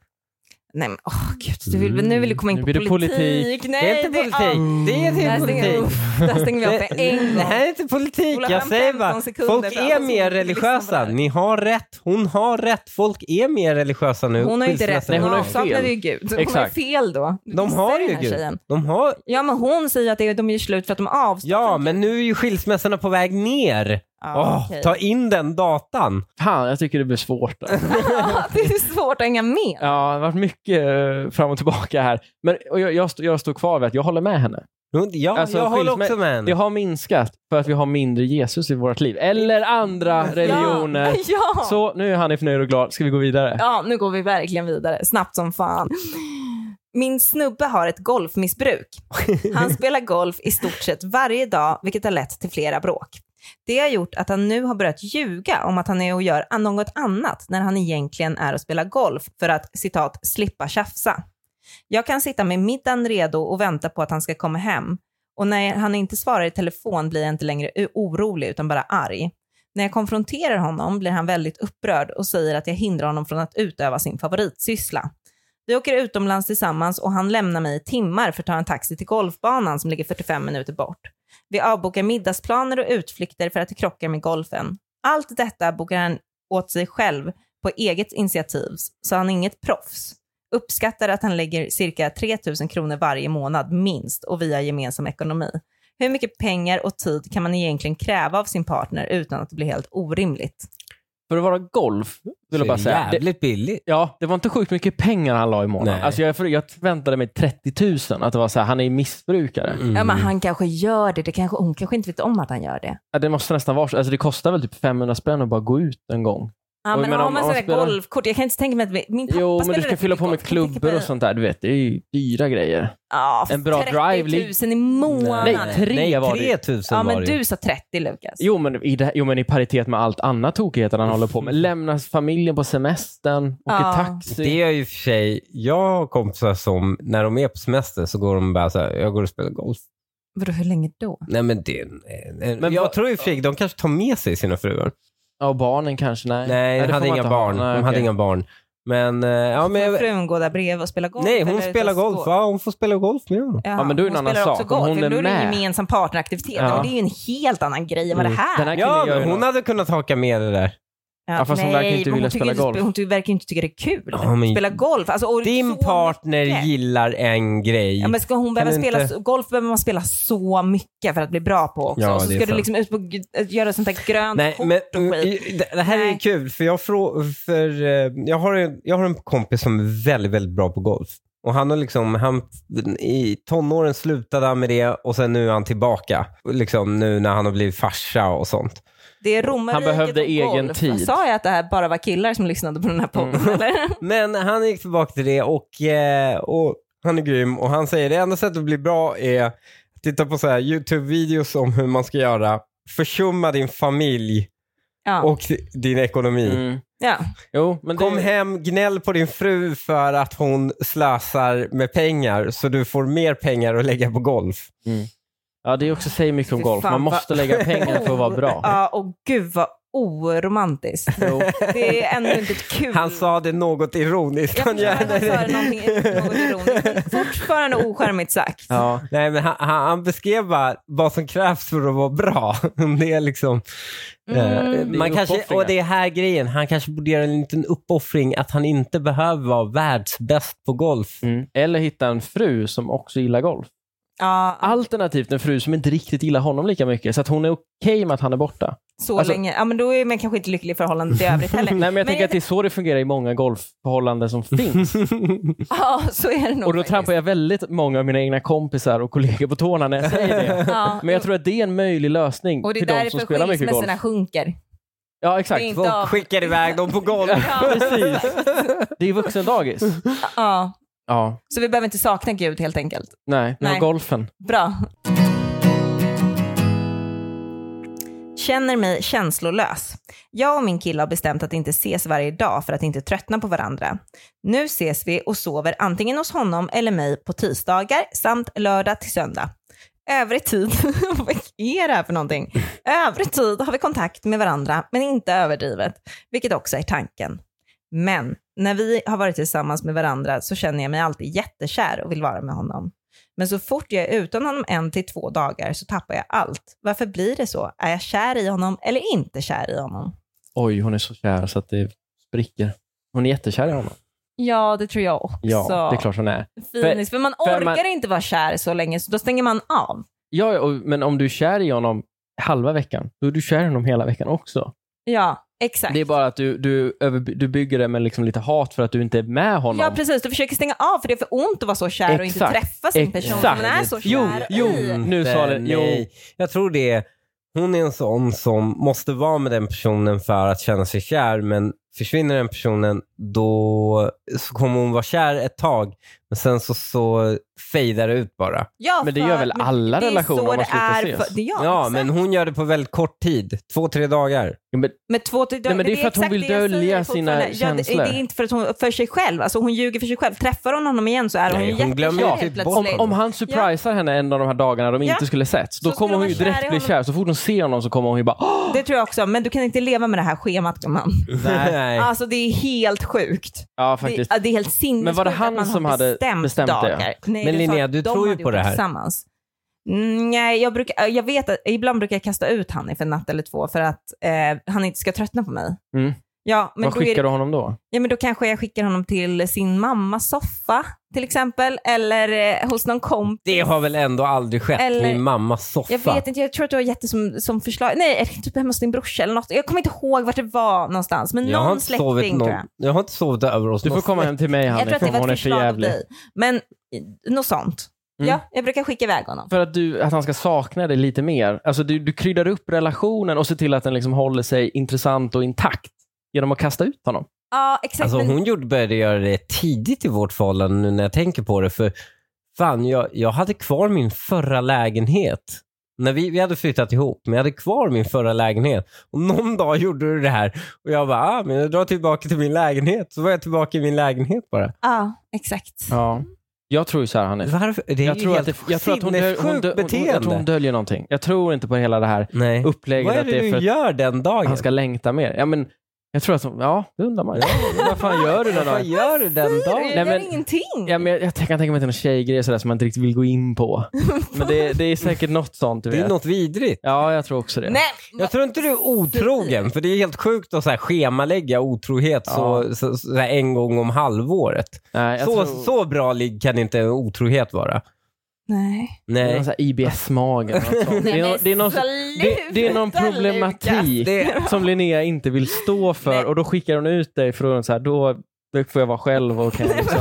[SPEAKER 1] Nej, men åh gud. Du vill,
[SPEAKER 2] Mm,
[SPEAKER 1] nu vill du komma in
[SPEAKER 3] Nu
[SPEAKER 1] på
[SPEAKER 3] blir det
[SPEAKER 1] politik.
[SPEAKER 3] politik.
[SPEAKER 1] Nej, Ah.
[SPEAKER 2] det är inte politik. Det är
[SPEAKER 1] Där
[SPEAKER 2] inte
[SPEAKER 1] stänger,
[SPEAKER 2] politik.
[SPEAKER 1] uff, där stänger vi av för en
[SPEAKER 2] Det
[SPEAKER 1] gång.
[SPEAKER 2] här är inte politik.
[SPEAKER 1] Spola
[SPEAKER 2] Jag
[SPEAKER 1] fram
[SPEAKER 2] säger
[SPEAKER 1] 15
[SPEAKER 2] bara,
[SPEAKER 1] sekunder
[SPEAKER 2] folk
[SPEAKER 1] för alla
[SPEAKER 2] är
[SPEAKER 1] som
[SPEAKER 2] mer
[SPEAKER 1] inte lyssnar på det
[SPEAKER 2] religiösa.
[SPEAKER 1] här.
[SPEAKER 2] Ni har rätt. Hon har rätt. Folk är mer religiösa nu.
[SPEAKER 1] Hon har ju inte rätt.
[SPEAKER 2] Skilsmässan-
[SPEAKER 3] Nej, hon har ju
[SPEAKER 1] avsaknade
[SPEAKER 3] fel.
[SPEAKER 1] ju Gud. Hon har ju
[SPEAKER 3] Exakt.
[SPEAKER 1] fel då. Du
[SPEAKER 2] De har
[SPEAKER 1] dissar
[SPEAKER 2] ju
[SPEAKER 1] den här
[SPEAKER 2] Gud.
[SPEAKER 1] tjejen.
[SPEAKER 2] De har...
[SPEAKER 1] Ja, men hon säger att det är- de gör slut för att de avstår.
[SPEAKER 2] Ja, men nu är ju skilsmässorna på väg ner.
[SPEAKER 1] Ja,
[SPEAKER 2] Åh,
[SPEAKER 1] okej.
[SPEAKER 2] Ta in den datan.
[SPEAKER 3] Fan, jag tycker det blir svårt. då.
[SPEAKER 1] Ja, Ah, det är svårt att hänga med.
[SPEAKER 3] Ja, det har varit mycket eh, fram och tillbaka här. Men och jag, jag, stod, jag står kvar vid att jag håller med henne.
[SPEAKER 2] Ja,
[SPEAKER 3] Alltså,
[SPEAKER 2] jag håller
[SPEAKER 3] skilsmä-
[SPEAKER 2] också med
[SPEAKER 3] Det
[SPEAKER 2] henne.
[SPEAKER 3] har minskat för att vi har mindre Jesus i vårt liv. Eller andra religioner.
[SPEAKER 1] Ja, ja.
[SPEAKER 3] Så, nu är Hanif nöjd och glad. Ska vi gå vidare?
[SPEAKER 1] Ja, nu går vi verkligen vidare. Snabbt som fan. Min snubbe har ett golfmissbruk. Han spelar golf i stort sett varje dag, vilket har lett till flera bråk. Det har gjort att han nu har börjat ljuga om att han är och gör an- något annat när han egentligen är och spelar golf för att citat slippa tjafsa. Jag kan sitta med middagen redo och vänta på att han ska komma hem och när han inte svarar i telefon blir jag inte längre u- orolig utan bara arg. När jag konfronterar honom blir han väldigt upprörd och säger att jag hindrar honom från att utöva sin favoritsyssla. Vi åker utomlands tillsammans och han lämnar mig i timmar för att ta en taxi till golfbanan som ligger 45 minuter bort. Vi avbokar middagsplaner och utflykter för att det krockar med golfen. Allt detta bokar han åt sig själv på eget initiativ, så han är inget proffs. Uppskattar att han lägger cirka 3 000 kronor varje månad minst och via gemensam ekonomi. Hur mycket pengar och tid kan man egentligen kräva av sin partner utan att det blir helt orimligt?
[SPEAKER 3] För att vara golf, vill jag bara
[SPEAKER 2] Så det är
[SPEAKER 3] säga. Det,
[SPEAKER 2] Jävligt billigt.
[SPEAKER 3] ja, det var inte sjukt mycket pengar han la i månaden.
[SPEAKER 2] Nej.
[SPEAKER 3] Alltså jag, för- jag väntade mig 30 000, att det var så här, han är missbrukare.
[SPEAKER 2] Mm.
[SPEAKER 1] Ja, men han kanske gör det. det kanske, hon kanske inte vet om att han gör det.
[SPEAKER 3] Ja, Det måste nästan vara så. Alltså det kostar väl typ 500 spänn att bara gå ut en gång.
[SPEAKER 1] Ja,
[SPEAKER 3] Oj,
[SPEAKER 1] men
[SPEAKER 3] men
[SPEAKER 1] har
[SPEAKER 3] om-
[SPEAKER 1] man
[SPEAKER 3] om man
[SPEAKER 1] sådana
[SPEAKER 3] spelar-
[SPEAKER 1] golfkort, jag kan inte tänka mig att vi- min pappa
[SPEAKER 3] Jo, men
[SPEAKER 1] spelade
[SPEAKER 3] du ska
[SPEAKER 1] rätt
[SPEAKER 3] fylla på med
[SPEAKER 1] mycket golf. Jag tänker
[SPEAKER 3] klubbor och sånt där. Du vet, det är ju dyra grejer.
[SPEAKER 1] Ja,
[SPEAKER 3] En bra
[SPEAKER 1] 30
[SPEAKER 3] drive
[SPEAKER 1] 000 i månaden.
[SPEAKER 3] Nej, tre
[SPEAKER 2] Nej,
[SPEAKER 3] var det ju.
[SPEAKER 2] 3000
[SPEAKER 1] ja,
[SPEAKER 2] var
[SPEAKER 1] men
[SPEAKER 2] det ju.
[SPEAKER 1] du sa 30 Lukas.
[SPEAKER 3] Jo men, i det, jo, men i paritet med allt annat tokigheter han håller på med. Lämnar familjen på semestern, åker
[SPEAKER 1] Ja.
[SPEAKER 3] taxi.
[SPEAKER 2] Det är ju i och för sig, jag har kompisar som när de är på semester så går de bara så här, jag går och spelar golf.
[SPEAKER 1] Vadå, hur länge då?
[SPEAKER 2] Nej men det, nej,
[SPEAKER 3] Men
[SPEAKER 2] men jag
[SPEAKER 3] vad-
[SPEAKER 2] tror i och för sig, de kanske tar med sig sina fruar.
[SPEAKER 3] Ja, och barnen kanske? Nej,
[SPEAKER 2] Nej, de
[SPEAKER 3] det får
[SPEAKER 2] hade
[SPEAKER 3] man
[SPEAKER 2] inga
[SPEAKER 3] inte ha.
[SPEAKER 2] barn.
[SPEAKER 3] Nej,
[SPEAKER 2] de hade
[SPEAKER 3] okej.
[SPEAKER 2] inga barn. Men, eh, ja men...
[SPEAKER 1] Får
[SPEAKER 2] Jag,
[SPEAKER 1] frun gå där bredvid och spela golf?
[SPEAKER 2] nej, hon
[SPEAKER 1] eller
[SPEAKER 2] spelar
[SPEAKER 1] utan
[SPEAKER 2] golf.
[SPEAKER 1] skål?
[SPEAKER 2] Ja, hon får spela golf med honom.
[SPEAKER 1] Ja,
[SPEAKER 3] men då är det
[SPEAKER 1] hon
[SPEAKER 3] en annan
[SPEAKER 1] spelar också
[SPEAKER 3] sak. Om
[SPEAKER 1] golf,
[SPEAKER 3] hon
[SPEAKER 1] för
[SPEAKER 3] är
[SPEAKER 1] då är det en
[SPEAKER 3] med.
[SPEAKER 1] gemensam partneraktivitet.
[SPEAKER 3] Ja. Mm.
[SPEAKER 1] Och det är ju en helt annan grej än vad det här
[SPEAKER 3] Den här
[SPEAKER 2] Ja,
[SPEAKER 3] killen gör ju
[SPEAKER 2] men hon
[SPEAKER 3] något.
[SPEAKER 2] hade kunnat haka med det där.
[SPEAKER 3] Ja, fast hon verkar inte
[SPEAKER 1] men
[SPEAKER 3] vilja
[SPEAKER 1] hon tycker
[SPEAKER 3] spela
[SPEAKER 1] inte-
[SPEAKER 3] golf.
[SPEAKER 1] Hon ty- verkar inte tycka det är kul.
[SPEAKER 2] Ja, men-
[SPEAKER 1] spela golf. Alltså, och
[SPEAKER 2] Din
[SPEAKER 1] så
[SPEAKER 2] partner
[SPEAKER 1] mycket.
[SPEAKER 2] gillar en grej.
[SPEAKER 1] Ja, men ska hon behöva
[SPEAKER 2] du
[SPEAKER 1] spela,
[SPEAKER 2] inte-
[SPEAKER 1] golf behöver man spela så mycket för att bli bra på också.
[SPEAKER 2] Ja,
[SPEAKER 1] och så
[SPEAKER 2] det är
[SPEAKER 1] ska du
[SPEAKER 2] sant.
[SPEAKER 1] liksom ut på att göra sånt där grönt
[SPEAKER 2] Nej,
[SPEAKER 1] kort
[SPEAKER 2] men
[SPEAKER 1] och skit.
[SPEAKER 2] mm, det- det här är
[SPEAKER 1] Nej.
[SPEAKER 2] kul för jag, frå, för, eh, jag, har en, jag har en kompis som är väldigt, väldigt bra på golf. Och han har liksom, han, I tonåren slutade han med det och sen nu är han tillbaka. Liksom nu när han har blivit farsa och sånt.
[SPEAKER 1] Det är romarriket
[SPEAKER 3] Han behövde
[SPEAKER 1] och golf.
[SPEAKER 3] egen tid. Mm.
[SPEAKER 1] Sa jag att det här bara var killar som lyssnade på den här podden? Eller?
[SPEAKER 2] Men han gick tillbaka till det och, eh, och han är grym och han säger det enda sättet att bli bra är att titta på så här YouTube-videos om hur man ska göra. Försumma din familj
[SPEAKER 1] Ja.
[SPEAKER 2] och din ekonomi.
[SPEAKER 3] Mm.
[SPEAKER 1] ja.
[SPEAKER 3] Jo, men
[SPEAKER 2] Kom
[SPEAKER 3] det...
[SPEAKER 2] hem, gnäll på din fru för att hon slösar med pengar så du får mer pengar att lägga på golf.
[SPEAKER 3] Ja, det är också säger mycket om
[SPEAKER 1] Fy
[SPEAKER 3] golf.
[SPEAKER 1] fan,
[SPEAKER 3] Man
[SPEAKER 1] vad-
[SPEAKER 3] måste lägga pengar för att vara bra.
[SPEAKER 1] Ja, och gud vad oromantiskt.
[SPEAKER 3] Jo.
[SPEAKER 1] Det är ändå inte ett kul.
[SPEAKER 2] Han sa det något ironiskt.
[SPEAKER 1] jag
[SPEAKER 2] Han
[SPEAKER 1] förstår
[SPEAKER 2] gör
[SPEAKER 1] att han sa
[SPEAKER 2] det.
[SPEAKER 1] det någonting, något ironiskt, men fortfarande ocharmigt sagt.
[SPEAKER 3] Ja.
[SPEAKER 2] Nej, men han, han han beskrev bara vad som krävs för att vara bra. Det är liksom... eh,
[SPEAKER 1] Mm.
[SPEAKER 3] Det är
[SPEAKER 2] Man kanske,
[SPEAKER 3] uppoffringar.
[SPEAKER 2] och det är här grejen, han kanske borde göra en liten uppoffring att han inte behöver vara världsbäst på golf.
[SPEAKER 3] Mm. Eller hitta en fru som också gillar golf.
[SPEAKER 1] Ja,
[SPEAKER 3] Alternativt en fru som inte riktigt gillar honom lika mycket, så att hon är okej med att han är borta.
[SPEAKER 1] så
[SPEAKER 3] Alltså-
[SPEAKER 1] länge. Ja, men då är man kanske inte lycklig i förhållandet i övrigt heller.
[SPEAKER 3] Nej, men jag tänker
[SPEAKER 1] jag
[SPEAKER 3] att det är så det fungerar i många golfförhållanden som finns.
[SPEAKER 1] Ja, så är det nog
[SPEAKER 3] och då
[SPEAKER 1] faktiskt.
[SPEAKER 3] trampar jag väldigt många av mina egna kompisar och kollegor på tårna när jag säger det.
[SPEAKER 1] Ja.
[SPEAKER 3] Men jag tror att det är en möjlig lösning
[SPEAKER 1] och det är
[SPEAKER 3] till de som
[SPEAKER 1] därför
[SPEAKER 3] spelar mycket golf.
[SPEAKER 1] skilsmässorna sjunker.
[SPEAKER 3] Ja,
[SPEAKER 1] det är
[SPEAKER 3] exakt.
[SPEAKER 1] inte av-
[SPEAKER 2] Folk skickar iväg dem på golf.
[SPEAKER 1] Ja, precis.
[SPEAKER 3] Det är vuxendagis.
[SPEAKER 1] Ja,
[SPEAKER 3] Ja.
[SPEAKER 1] så vi behöver inte sakna Gud helt enkelt.
[SPEAKER 3] Nej, vi har
[SPEAKER 1] Nej.
[SPEAKER 3] golfen.
[SPEAKER 1] Bra. Känner mig känslolös. Jag och min kille har bestämt att inte ses varje dag för att inte tröttna på varandra. Nu ses vi och sover antingen hos honom eller mig på tisdagar samt lördag till söndag. Övrig tid, vad är det här för någonting? Övrig tid har vi kontakt med varandra men inte överdrivet, vilket också är tanken. Men när vi har varit tillsammans med varandra så känner jag mig alltid jättekär och vill vara med honom. Men så fort jag är utan honom en till två dagar så tappar jag allt. Varför blir det så? Är jag kär i honom eller inte kär i honom?
[SPEAKER 3] Oj, hon är så kär så att det spricker. Hon är jättekär i honom.
[SPEAKER 1] Ja, det tror jag också.
[SPEAKER 3] Ja, det är klart hon är.
[SPEAKER 1] Finis, för man
[SPEAKER 3] för
[SPEAKER 1] orkar
[SPEAKER 3] man-
[SPEAKER 1] inte vara kär så länge, så då stänger man av.
[SPEAKER 3] Ja, ja, och- men om du är kär i honom halva veckan, då är du kär i honom hela veckan också.
[SPEAKER 1] Ja, exakt.
[SPEAKER 3] Det är bara att du, du, över, du bygger det med liksom lite hat för att du inte är med honom.
[SPEAKER 1] Ja, precis. Du försöker stänga av för det är för ont att vara så kär och inte
[SPEAKER 3] Exakt.
[SPEAKER 1] träffa sin person som
[SPEAKER 3] Exakt.
[SPEAKER 1] man är så kär
[SPEAKER 3] Jo,
[SPEAKER 1] i.
[SPEAKER 3] jo. Nu sa det- jo.
[SPEAKER 2] Nej. Jag tror det är, hon är en sån som måste vara med den personen för att känna sig kär, men försvinner den personen då så kommer hon vara kär ett tag, men sen så, så fejdar det ut bara.
[SPEAKER 1] Ja,
[SPEAKER 3] Men det gör
[SPEAKER 1] för-
[SPEAKER 3] väl
[SPEAKER 1] men
[SPEAKER 3] alla
[SPEAKER 1] det är
[SPEAKER 3] relationer
[SPEAKER 1] så
[SPEAKER 3] om man
[SPEAKER 1] det
[SPEAKER 3] slutar
[SPEAKER 1] är
[SPEAKER 3] ses?
[SPEAKER 1] för- det- Ja,
[SPEAKER 2] Ja,
[SPEAKER 1] exakt.
[SPEAKER 2] men hon gör det på väldigt kort tid. Två, tre dagar.
[SPEAKER 3] Ja, men,
[SPEAKER 1] Men två till
[SPEAKER 3] Nej, men det är för att hon
[SPEAKER 1] exakt
[SPEAKER 3] vill
[SPEAKER 1] det jag säger
[SPEAKER 3] dölja
[SPEAKER 1] fortfarande.
[SPEAKER 3] sina
[SPEAKER 1] ja, det,
[SPEAKER 3] känslor.
[SPEAKER 1] det är inte för att hon, för sig själv. Alltså hon ljuger för sig själv. Träffar hon honom igen så är hon
[SPEAKER 2] Nej,
[SPEAKER 1] ju
[SPEAKER 2] hon glömmer
[SPEAKER 1] jättekär
[SPEAKER 2] ju
[SPEAKER 1] helt
[SPEAKER 2] typ bort
[SPEAKER 1] plötsligt.
[SPEAKER 2] honom.
[SPEAKER 3] om han surprisar henne en av de här dagarna de
[SPEAKER 1] Ja.
[SPEAKER 3] inte skulle setts, då
[SPEAKER 1] Så
[SPEAKER 3] kommer
[SPEAKER 1] skulle
[SPEAKER 3] hon ju
[SPEAKER 1] man vara kär
[SPEAKER 3] direkt
[SPEAKER 1] i
[SPEAKER 3] bli
[SPEAKER 1] honom.
[SPEAKER 3] kär. Så fort hon ser honom så kommer hon ju bara "Åh!"
[SPEAKER 1] Det tror jag också, men du kan inte leva med det här schemat gumman.
[SPEAKER 2] Nej.
[SPEAKER 1] Alltså det är helt sjukt.
[SPEAKER 3] Ja,
[SPEAKER 1] Det,
[SPEAKER 3] faktiskt.
[SPEAKER 1] ja, det är helt sinnessjukt
[SPEAKER 3] Men var det han
[SPEAKER 1] att man har
[SPEAKER 3] som hade bestämt det?
[SPEAKER 1] dagar. Nej,
[SPEAKER 2] Men
[SPEAKER 1] det sa
[SPEAKER 2] Linnea,
[SPEAKER 1] att
[SPEAKER 2] du
[SPEAKER 1] de
[SPEAKER 2] tror ju
[SPEAKER 1] hade
[SPEAKER 2] på
[SPEAKER 1] gjort
[SPEAKER 2] det här.
[SPEAKER 1] Tillsammans. Mm, Nej, jag, brukar, jag vet att ibland brukar jag kasta ut han för en natt eller två för att eh, han inte ska tröttna på mig.
[SPEAKER 3] Mm.
[SPEAKER 1] Ja, men
[SPEAKER 3] Vad
[SPEAKER 1] då, är,
[SPEAKER 3] skickar
[SPEAKER 1] det-
[SPEAKER 3] du honom då?
[SPEAKER 1] ja, men då kanske jag skickar honom till sin mammas soffa till exempel, eller eh, hos någon kompis.
[SPEAKER 2] Det har väl ändå aldrig skett?
[SPEAKER 1] Eller-
[SPEAKER 2] Min mammas soffa.
[SPEAKER 1] Jag vet inte, jag tror att du har gett det som, som förslag. Nej, eh, typ hemma hos din brorsa eller något. Jag kommer inte ihåg vart det var någonstans, men
[SPEAKER 2] Jag har
[SPEAKER 1] någon
[SPEAKER 2] inte sovit
[SPEAKER 1] släkting
[SPEAKER 2] någon-
[SPEAKER 1] tror jag.
[SPEAKER 2] Jag har inte sovit över hos
[SPEAKER 3] Du får
[SPEAKER 2] någon
[SPEAKER 3] komma hem till mig
[SPEAKER 1] Jag tror
[SPEAKER 3] Hanif,
[SPEAKER 1] att det
[SPEAKER 3] för
[SPEAKER 1] var
[SPEAKER 3] hon är
[SPEAKER 1] ett
[SPEAKER 3] för
[SPEAKER 1] förslag av
[SPEAKER 3] jävlig.
[SPEAKER 1] dig. Men eh, något sånt.
[SPEAKER 3] Mm.
[SPEAKER 1] Ja, jag brukar skicka iväg honom.
[SPEAKER 3] För att, du, att han ska sakna dig lite mer. Alltså du, du kryddar upp relationen och ser till att den liksom håller sig intressant och intakt genom att kasta ut honom.
[SPEAKER 1] Ja, exakt.
[SPEAKER 2] Alltså
[SPEAKER 1] men-
[SPEAKER 2] hon gjorde, började göra det tidigt i vårt förhållande nu när jag tänker på det. För fan, jag, jag hade kvar min förra lägenhet. När vi, vi hade flyttat ihop, men jag hade kvar min förra lägenhet. Och någon dag gjorde du det här och jag bara, ah, men jag drar tillbaka till min lägenhet. Så var jag tillbaka i min lägenhet bara.
[SPEAKER 1] Ja, exakt.
[SPEAKER 3] Ja. Jag tror ju så här Hanif.
[SPEAKER 2] Varför? Det är
[SPEAKER 3] Jag
[SPEAKER 2] ju
[SPEAKER 3] tror, att
[SPEAKER 2] helt
[SPEAKER 3] det, jag, tror att hon döl, hon,
[SPEAKER 2] sinnessjukt
[SPEAKER 3] dö- hon, hon, jag tror hon
[SPEAKER 2] beteende.
[SPEAKER 3] döljer någonting. Jag tror inte på hela det här
[SPEAKER 2] Nej. Vad
[SPEAKER 3] upplägget
[SPEAKER 2] är
[SPEAKER 3] att
[SPEAKER 2] det
[SPEAKER 3] det är
[SPEAKER 2] du
[SPEAKER 3] för att
[SPEAKER 2] gör den dagen?
[SPEAKER 3] han ska längta mer. Ja, men, jag tror att hon, ja, det undrar man ju. Vad fan gör du den
[SPEAKER 2] Vad
[SPEAKER 3] dagen?
[SPEAKER 2] gör du den dagen?
[SPEAKER 1] Jag
[SPEAKER 3] Nej,
[SPEAKER 1] gör
[SPEAKER 3] men-
[SPEAKER 1] ingenting.
[SPEAKER 3] Ja, men jag, jag kan tänka mig att det är någon tjejgrej sådär som man inte riktigt vill gå in på. Men det, det är säkert något sånt du
[SPEAKER 2] Det är
[SPEAKER 3] vet.
[SPEAKER 2] något vidrigt.
[SPEAKER 3] Ja, jag tror också det.
[SPEAKER 1] Nej,
[SPEAKER 2] Jag tror inte du är otrogen, för det är helt sjukt att så här schemalägga otrohet så, så, så här en gång om halvåret.
[SPEAKER 3] Nej, jag
[SPEAKER 2] Så,
[SPEAKER 3] tror,
[SPEAKER 2] så bra ligg kan inte en otrohet vara.
[SPEAKER 1] Nej.
[SPEAKER 3] Det är
[SPEAKER 2] Nej.
[SPEAKER 3] någon sån här IBS-magen. eller något sånt. Det
[SPEAKER 1] Nej,
[SPEAKER 3] är
[SPEAKER 1] men
[SPEAKER 3] nå- det är någon- det, det är någon
[SPEAKER 1] sluta,
[SPEAKER 3] problematik
[SPEAKER 1] Lukas.
[SPEAKER 2] Det-
[SPEAKER 3] som Linnea inte vill stå för
[SPEAKER 1] Nej.
[SPEAKER 3] och då skickar hon ut dig för då, är hon så här, då då får jag vara själv och kan jag liksom...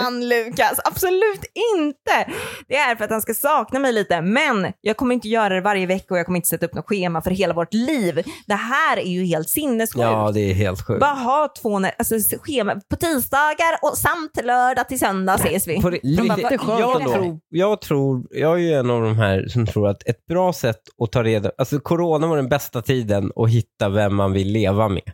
[SPEAKER 1] Fan Lukas, absolut inte. Det är för att han ska sakna mig lite. Men jag kommer inte göra det varje vecka och jag kommer inte sätta upp något schema för hela vårt liv. Det här är ju helt sinnessjukt.
[SPEAKER 2] Ja, det är helt sjukt.
[SPEAKER 1] Bara ha två nä- alltså, schema på tisdagar och samt lördag till söndag ses vi.
[SPEAKER 2] På det-
[SPEAKER 3] Lite
[SPEAKER 2] riktigt.
[SPEAKER 3] skönt
[SPEAKER 2] jag,
[SPEAKER 1] ändå.
[SPEAKER 2] tror, jag tror, jag är ju en av de här som tror att ett bra sätt att ta reda alltså corona var den bästa tiden att hitta vem man vill leva med.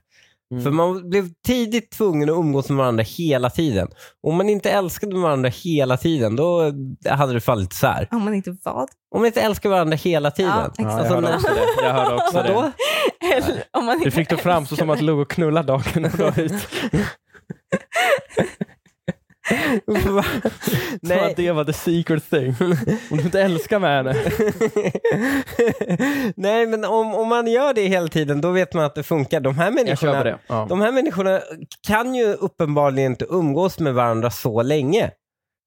[SPEAKER 3] Mm.
[SPEAKER 2] För man blev tidigt tvungen att umgås med varandra hela tiden. Om man inte älskade varandra hela tiden, då hade det fallit så här.
[SPEAKER 1] Om man inte vad.
[SPEAKER 2] Om man inte älskar varandra hela tiden.
[SPEAKER 1] Ja,
[SPEAKER 3] jag
[SPEAKER 2] Alltså,
[SPEAKER 3] hörde
[SPEAKER 2] när-
[SPEAKER 3] också det. Jag hörde också det.
[SPEAKER 2] Vadå?
[SPEAKER 1] Eller om man
[SPEAKER 3] Du
[SPEAKER 1] inte
[SPEAKER 3] fick det fram så som att du låg och knullade dagen och dag ut.
[SPEAKER 2] Va?
[SPEAKER 3] Som att
[SPEAKER 2] Nej.
[SPEAKER 3] det var the secret thing. Om du inte älskar med henne.
[SPEAKER 2] Nej, men om, om man gör det hela tiden, då vet man att det funkar. De här
[SPEAKER 3] Jag
[SPEAKER 2] människorna,
[SPEAKER 3] köper det. Ja.
[SPEAKER 2] De här människorna kan ju uppenbarligen inte umgås med varandra så länge.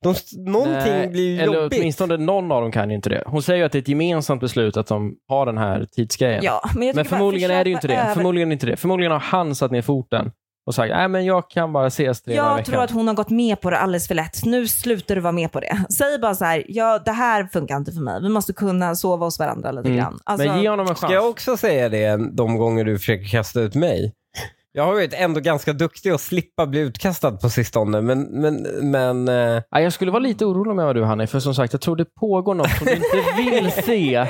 [SPEAKER 2] De, någonting
[SPEAKER 3] Nej,
[SPEAKER 2] blir ju
[SPEAKER 3] Eller
[SPEAKER 2] jobbigt.
[SPEAKER 3] åtminstone någon av dem kan ju inte det. Hon säger ju att det är ett gemensamt beslut att de har den här tidsgrejen.
[SPEAKER 1] Ja, men, jag
[SPEAKER 3] men
[SPEAKER 1] tycker bara
[SPEAKER 3] förmodligen är det ju
[SPEAKER 1] försöka
[SPEAKER 3] inte det.
[SPEAKER 1] över-
[SPEAKER 3] Förmodligen, inte det. förmodligen har han satt ner foten och sagt nej men jag kan bara ses tre dagar i
[SPEAKER 1] Jag
[SPEAKER 3] veckan.
[SPEAKER 1] tror att hon har gått med på det alldeles för lätt. Nu slutar du vara med på det. Säg bara så här, ja det här funkar inte för mig. Vi måste kunna sova hos varandra lite
[SPEAKER 3] Mm.
[SPEAKER 1] grann. Alltså,
[SPEAKER 3] Men ge honom en
[SPEAKER 2] Ska
[SPEAKER 3] chans.
[SPEAKER 2] jag också säga det de gånger du försöker kasta ut mig? Jag har varit ändå ganska duktig att slippa bli utkastad på sistone, men, men, men eh,
[SPEAKER 3] Ja, jag skulle vara lite orolig om jag var du Hanni, för som sagt jag tror det pågår något som du inte vill se.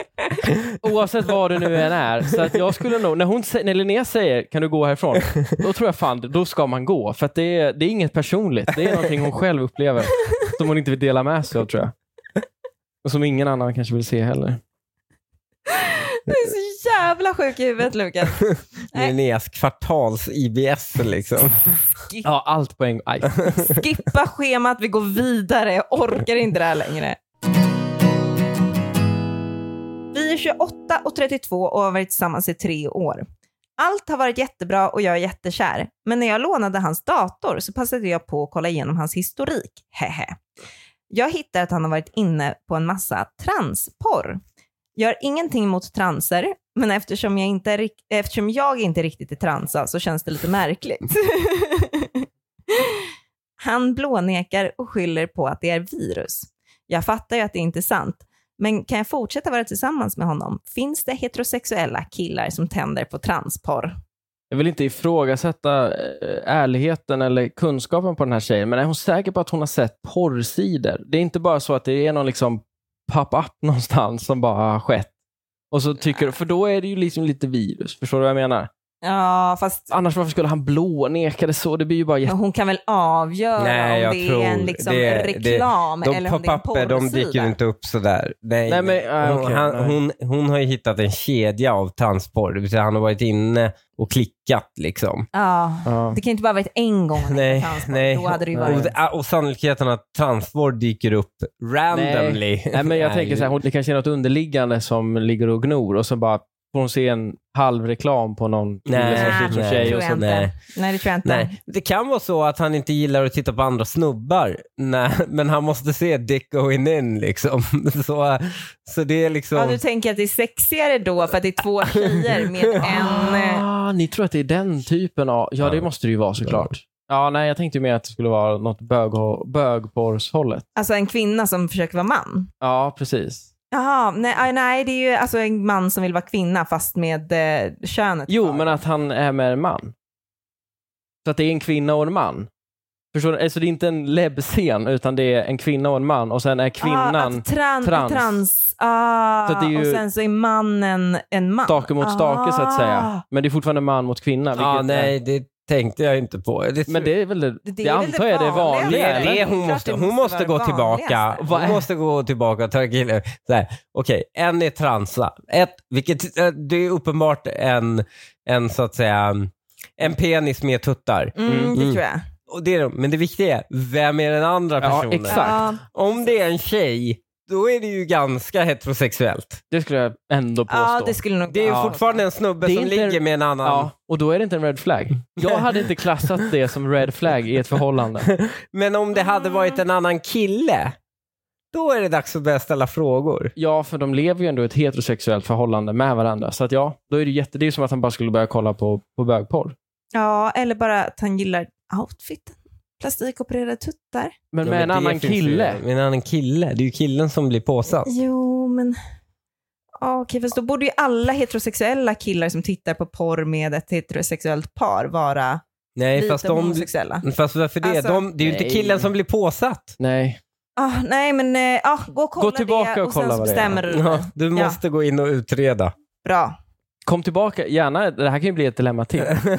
[SPEAKER 3] Oavsett vad det nu än är. Så att jag skulle nog, när, hon, sä- när Linnea säger kan du gå härifrån, då tror jag fan då ska man gå. För att det, är, det är inget personligt, det är någonting hon själv upplever som hon inte vill dela med sig av tror jag. Och som ingen annan kanske vill se heller.
[SPEAKER 1] Du är så jävla sjuk i huvudet Lukas. Nej.
[SPEAKER 2] Linneas kvartals-IBS liksom.
[SPEAKER 3] Ja, allt på en gång. Aj.
[SPEAKER 1] Skippa schemat, vi går vidare. Jag orkar inte det här längre. Vi är 28 och 32 och har varit tillsammans i tre år. Allt har varit jättebra och jag är jättekär. Men när jag lånade hans dator så passade jag på att kolla igenom hans historik. Hehe. Jag hittar att han har varit inne på en massa transporr. Jag har ingenting emot transer, men eftersom jag inte, är rik- eftersom jag inte riktigt är transa så känns det lite märkligt. Han blånekar och skyller på att det är virus. Jag fattar ju att det inte är sant, men kan jag fortsätta vara tillsammans med honom? Finns det heterosexuella killar som tänder på transporr?
[SPEAKER 3] Jag vill inte ifrågasätta eh, ärligheten eller kunskapen på den här tjejen, men är hon säker på att hon har sett porrsidor? Det är inte bara så att det är någon liksom pop-up någonstans som bara har skett. Och så tycker, för då är det ju liksom lite virus. Förstår du vad jag menar?
[SPEAKER 1] Ja, fast
[SPEAKER 3] Annars varför skulle han blåneka det så? Det blir ju bara jätte...
[SPEAKER 1] hon kan väl avgöra
[SPEAKER 2] Nej, jag
[SPEAKER 1] om det
[SPEAKER 2] tror
[SPEAKER 1] är en liksom
[SPEAKER 2] det- det-
[SPEAKER 1] reklam
[SPEAKER 2] De
[SPEAKER 1] eller om det är en
[SPEAKER 2] papper, de dyker
[SPEAKER 1] porrsida.
[SPEAKER 2] inte upp sådär. Nej,
[SPEAKER 3] Nej, men, ah,
[SPEAKER 2] hon,
[SPEAKER 3] okej,
[SPEAKER 2] han,
[SPEAKER 3] nej.
[SPEAKER 2] Hon, hon har ju hittat en kedja av transporr, det vill säga han har varit inne och klickat liksom.
[SPEAKER 1] Ja,
[SPEAKER 3] Ja.
[SPEAKER 1] det kan ju inte bara varit en gång han
[SPEAKER 2] Nej,
[SPEAKER 1] hade transporr.
[SPEAKER 2] nej.
[SPEAKER 1] Då hade det ju
[SPEAKER 3] Nej.
[SPEAKER 1] varit...
[SPEAKER 2] Och, och sannolikheten att transporr dyker upp randomly.
[SPEAKER 3] Nej, men jag
[SPEAKER 2] är
[SPEAKER 3] tänker
[SPEAKER 2] ju-
[SPEAKER 3] så här, hon- det kanske är något underliggande som ligger och gnor och så bara får hon se en halv reklam på någon kille som ser ut som
[SPEAKER 1] nej,
[SPEAKER 3] tjej.
[SPEAKER 1] tror
[SPEAKER 3] Och
[SPEAKER 1] jag
[SPEAKER 3] så,
[SPEAKER 1] inte.
[SPEAKER 2] nej.
[SPEAKER 1] Nej, det tror jag inte.
[SPEAKER 2] Nej, det kan vara så att han inte gillar att titta på andra snubbar, nej, men han måste se dick going in liksom. Så, så det är liksom...
[SPEAKER 1] Ja, du tänker att det är sexigare då för att det är två tjejer med en... eh,
[SPEAKER 3] ah, ni tror att det är den typen av... Ja, det
[SPEAKER 2] Ja.
[SPEAKER 3] måste det ju vara såklart. Ja, nej, jag tänkte ju mer att det skulle vara något bög, bögporrshållet.
[SPEAKER 1] Alltså en kvinna som försöker vara man.
[SPEAKER 3] Ja, precis.
[SPEAKER 1] Jaha, nej, aj, nej det är ju alltså en man som vill vara kvinna fast med eh, könet
[SPEAKER 3] Jo,
[SPEAKER 1] kvar.
[SPEAKER 3] men att han är med en man. Så att det är en kvinna och en man. Förstår du? Alltså det är inte en lebbscen, utan det är en kvinna och en man och sen är
[SPEAKER 1] Ah,
[SPEAKER 3] kvinnan
[SPEAKER 1] att tran,
[SPEAKER 3] trans.
[SPEAKER 1] trans. Ah,
[SPEAKER 3] Så att det är ju-
[SPEAKER 1] Och sen så är mannen en man.
[SPEAKER 3] stake mot stake så att säga.
[SPEAKER 1] Ah,
[SPEAKER 3] Men det är fortfarande man mot kvinna. Vilket
[SPEAKER 2] ja,
[SPEAKER 3] Är,
[SPEAKER 2] nej, det tänkte jag inte på. Det,
[SPEAKER 3] men det är väl det, det,
[SPEAKER 1] är väl
[SPEAKER 3] antar jag det är
[SPEAKER 1] vanliga,
[SPEAKER 3] vanliga.
[SPEAKER 2] Det är
[SPEAKER 1] eller?
[SPEAKER 2] det hon
[SPEAKER 1] Klart
[SPEAKER 2] måste,
[SPEAKER 1] det
[SPEAKER 2] hon
[SPEAKER 1] måste
[SPEAKER 2] måste gå
[SPEAKER 1] vara det
[SPEAKER 2] tillbaka.
[SPEAKER 1] vanligaste.
[SPEAKER 2] Hon måste gå tillbaka och ta killen. Så här, Okej, en är transa. Ett, vilket, eh, det är uppenbart en, en så att säga, en penis med tuttar.
[SPEAKER 1] mm, det
[SPEAKER 2] Mm.
[SPEAKER 1] tror jag.
[SPEAKER 2] Och det är, de. men det viktiga är, vem är den andra
[SPEAKER 3] Ja,
[SPEAKER 2] personen?
[SPEAKER 3] exakt.
[SPEAKER 1] Ja,
[SPEAKER 2] Om det är en tjej, då är det ju ganska heterosexuellt.
[SPEAKER 3] Det skulle jag ändå påstå.
[SPEAKER 1] ja, det skulle nog
[SPEAKER 2] Det är ju
[SPEAKER 1] Ja.
[SPEAKER 2] fortfarande en snubbe
[SPEAKER 3] Det är
[SPEAKER 2] som
[SPEAKER 3] inte-
[SPEAKER 2] ligger med en annan.
[SPEAKER 3] Ja, och då är det inte en red flag. Jag hade inte klassat det som red flag i ett förhållande.
[SPEAKER 2] Men om det hade varit en annan kille, då är det dags att börja ställa frågor.
[SPEAKER 3] Ja, för de lever ju ändå i ett heterosexuellt förhållande med varandra. Så att ja, då är det, jätte, det är ju som att han bara skulle börja kolla på, på bögporr.
[SPEAKER 1] Ja, eller bara att han gillar outfiten. Plastikopererade tuttar.
[SPEAKER 3] Men
[SPEAKER 2] Ja,
[SPEAKER 3] med en
[SPEAKER 2] det
[SPEAKER 3] annan
[SPEAKER 2] finns
[SPEAKER 3] kille.
[SPEAKER 2] Ju, med en annan kille. Det är ju killen som blir påsatt.
[SPEAKER 1] Jo, men... Ja, Okej, fast då borde ju alla heterosexuella killar som tittar på porr med ett heterosexuellt par vara
[SPEAKER 2] Nej,
[SPEAKER 1] vita
[SPEAKER 2] fast, de,
[SPEAKER 1] homosexuella.
[SPEAKER 2] fast varför det?
[SPEAKER 1] Alltså-
[SPEAKER 2] de, det är ju inte
[SPEAKER 3] Nej.
[SPEAKER 2] killen som blir påsatt.
[SPEAKER 3] Nej.
[SPEAKER 1] Ah, nej, men eh, ah, gå och kolla
[SPEAKER 3] Gå tillbaka
[SPEAKER 1] det
[SPEAKER 3] och
[SPEAKER 1] och,
[SPEAKER 3] kolla
[SPEAKER 1] sen så
[SPEAKER 3] vad det är.
[SPEAKER 1] bestämmer du dig.
[SPEAKER 2] Ja, du
[SPEAKER 1] Ja.
[SPEAKER 2] måste gå in och utreda.
[SPEAKER 1] Bra.
[SPEAKER 3] Kom tillbaka, gärna. Det här kan ju bli ett dilemma till. Nej,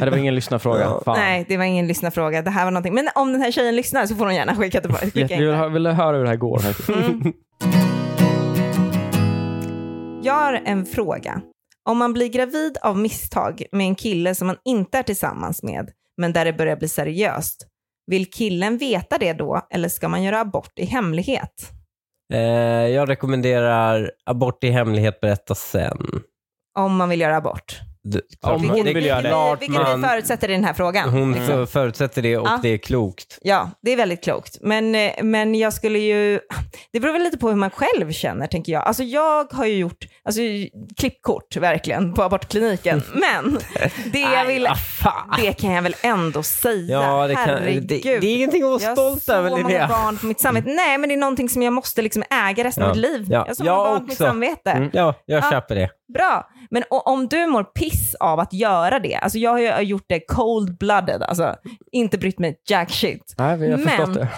[SPEAKER 3] det var ingen lyssnarfråga.
[SPEAKER 2] Ja.
[SPEAKER 3] Fan.
[SPEAKER 1] Nej, det var ingen lyssnarfråga. Det här var någonting. Men om den här tjejen lyssnar så får hon gärna skicka tillbaka.
[SPEAKER 3] Jag
[SPEAKER 1] Skicka in
[SPEAKER 3] vill,
[SPEAKER 1] det.
[SPEAKER 3] hö- vill höra hur det här går. faktiskt.
[SPEAKER 1] Mm. Jag har en fråga. Om man blir gravid av misstag med en kille som man inte är tillsammans med, men där det börjar bli seriöst, vill killen veta det då eller ska man göra abort i hemlighet?
[SPEAKER 2] Eh, jag rekommenderar abort i hemlighet, berätta sen.
[SPEAKER 1] Om man vill göra abort.
[SPEAKER 2] Du,
[SPEAKER 3] Om
[SPEAKER 2] klart-
[SPEAKER 3] hon
[SPEAKER 2] det-
[SPEAKER 3] vill göra det. Mm.
[SPEAKER 1] Vilket, vi- vilket vi
[SPEAKER 2] man-
[SPEAKER 1] förutsätter i den här frågan.
[SPEAKER 2] Hon
[SPEAKER 1] liksom.
[SPEAKER 2] för, förutsätter det och
[SPEAKER 1] Ja.
[SPEAKER 2] det är klokt.
[SPEAKER 1] Ja, det är väldigt klokt. Men, eh, men jag skulle ju... Det beror väl lite på hur man själv känner, tänker jag. Alltså jag har ju gjort alltså, klippkort, verkligen, på abortkliniken. Men det, jag vill,
[SPEAKER 2] vad fan.
[SPEAKER 1] det kan jag väl ändå säga.
[SPEAKER 2] Ja, det, kan, det,
[SPEAKER 1] Herregud.
[SPEAKER 2] det är ingenting att vara
[SPEAKER 1] jag har
[SPEAKER 2] stolt
[SPEAKER 1] så
[SPEAKER 2] över,
[SPEAKER 1] många
[SPEAKER 2] Linnea. Mm.
[SPEAKER 1] barn på mitt samvete. Nej, men det är någonting som jag måste liksom äga resten av
[SPEAKER 2] Ja.
[SPEAKER 1] mitt liv.
[SPEAKER 2] Ja.
[SPEAKER 1] Jag har så
[SPEAKER 2] Jag
[SPEAKER 1] många barn på mitt
[SPEAKER 2] också.
[SPEAKER 1] samvete.
[SPEAKER 3] Mm.
[SPEAKER 2] Ja, jag
[SPEAKER 1] Ja.
[SPEAKER 2] köper det.
[SPEAKER 1] Bra, men o- om du mår piss av att göra det, alltså jag har ju gjort det cold-blooded, alltså inte brytt mig jack shit.
[SPEAKER 3] Nej, vi har
[SPEAKER 1] Men-
[SPEAKER 3] förstått det.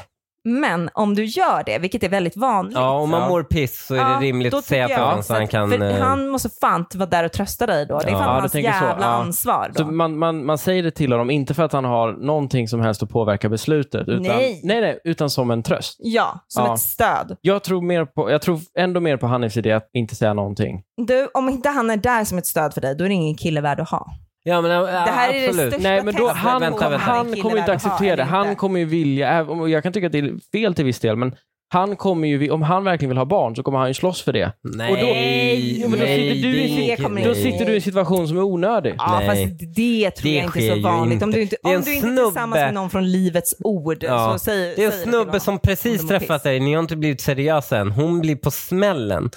[SPEAKER 1] Men om du gör det, vilket är väldigt vanligt.
[SPEAKER 2] Ja, om man
[SPEAKER 3] Ja.
[SPEAKER 2] mår piss så är det
[SPEAKER 1] Ja,
[SPEAKER 2] rimligt
[SPEAKER 1] då
[SPEAKER 2] att säga
[SPEAKER 1] tycker
[SPEAKER 2] till
[SPEAKER 1] jag
[SPEAKER 2] honom så
[SPEAKER 1] att-
[SPEAKER 2] han kan...
[SPEAKER 1] För
[SPEAKER 2] eh,
[SPEAKER 1] han måste fan vara där och trösta dig då. Det är
[SPEAKER 2] Ja.
[SPEAKER 1] fan
[SPEAKER 3] Ja, du
[SPEAKER 1] hans
[SPEAKER 3] tänker så.
[SPEAKER 1] jävla
[SPEAKER 3] Ja.
[SPEAKER 1] ansvar då.
[SPEAKER 3] Så man, man, man säger det till honom, inte för att han har någonting som helst att påverka beslutet. Utan,
[SPEAKER 1] Nej.
[SPEAKER 3] Nej, nej, utan som en tröst.
[SPEAKER 1] Ja, som
[SPEAKER 3] Ja.
[SPEAKER 1] ett stöd.
[SPEAKER 3] Jag tror, mer på, jag tror ändå mer på Hanifs idé att inte säga någonting.
[SPEAKER 1] Du, om inte han är där som ett stöd för dig, då är det ingen kille värd att ha.
[SPEAKER 2] Ja, men, det
[SPEAKER 1] här är det
[SPEAKER 2] absolut.
[SPEAKER 1] största-
[SPEAKER 3] Nej, men då,
[SPEAKER 1] testet
[SPEAKER 3] han,
[SPEAKER 2] vänta,
[SPEAKER 3] kommer-
[SPEAKER 2] vänta.
[SPEAKER 3] han kommer inte
[SPEAKER 1] Killar att ha
[SPEAKER 3] acceptera det.
[SPEAKER 1] eller
[SPEAKER 3] Han
[SPEAKER 1] inte.
[SPEAKER 3] kommer ju vilja, även om- jag kan tycka att det är fel till viss del, men han kommer ju, vi- om han verkligen vill ha barn så kommer han ju slåss för det.
[SPEAKER 2] Nej,
[SPEAKER 3] Och då- Nej, jo, men då sitter du i-
[SPEAKER 1] det kommer
[SPEAKER 3] Då
[SPEAKER 1] Nej.
[SPEAKER 3] sitter du i en situation som är onödig.
[SPEAKER 1] Ja,
[SPEAKER 2] Nej.
[SPEAKER 1] fast det tror
[SPEAKER 2] Det
[SPEAKER 1] jag inte
[SPEAKER 2] sker
[SPEAKER 1] är
[SPEAKER 2] ju
[SPEAKER 1] så vanligt. Om
[SPEAKER 2] inte.
[SPEAKER 1] du inte,
[SPEAKER 2] Det är
[SPEAKER 1] om
[SPEAKER 2] en
[SPEAKER 1] du inte är
[SPEAKER 2] snubbe-
[SPEAKER 1] tillsammans med någon från Livets Ord,
[SPEAKER 2] Ja.
[SPEAKER 1] så säg,
[SPEAKER 2] Det är en
[SPEAKER 1] säg till
[SPEAKER 2] snubbe
[SPEAKER 1] honom.
[SPEAKER 2] som
[SPEAKER 1] Om
[SPEAKER 2] precis
[SPEAKER 1] de mår
[SPEAKER 2] träffat
[SPEAKER 1] piss.
[SPEAKER 2] dig, ni har inte blivit seriösa än. Hon blir på smällen.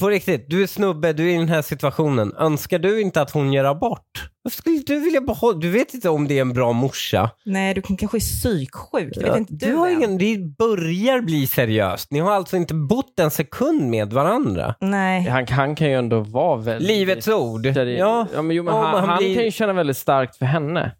[SPEAKER 2] På riktigt, du är snubbe, du är i den här situationen. Önskar du inte att hon gör abort? Varför skulle du vilja behålla... Du vet inte om det är en bra morsa.
[SPEAKER 1] Nej, du kanske är psyksjuk. Det
[SPEAKER 2] Ja,
[SPEAKER 1] vet inte du,
[SPEAKER 2] du har
[SPEAKER 1] än.
[SPEAKER 2] ingen, det börjar bli seriöst. Ni har alltså inte bott en sekund med varandra.
[SPEAKER 1] Nej.
[SPEAKER 3] Han, han kan ju ändå vara väldigt...
[SPEAKER 2] Livets ord.
[SPEAKER 3] Där i-
[SPEAKER 2] Ja.
[SPEAKER 3] ja, men, jo, men
[SPEAKER 2] Ja,
[SPEAKER 3] han,
[SPEAKER 2] men han
[SPEAKER 3] han
[SPEAKER 2] blir-
[SPEAKER 3] kan ju känna väldigt starkt för henne.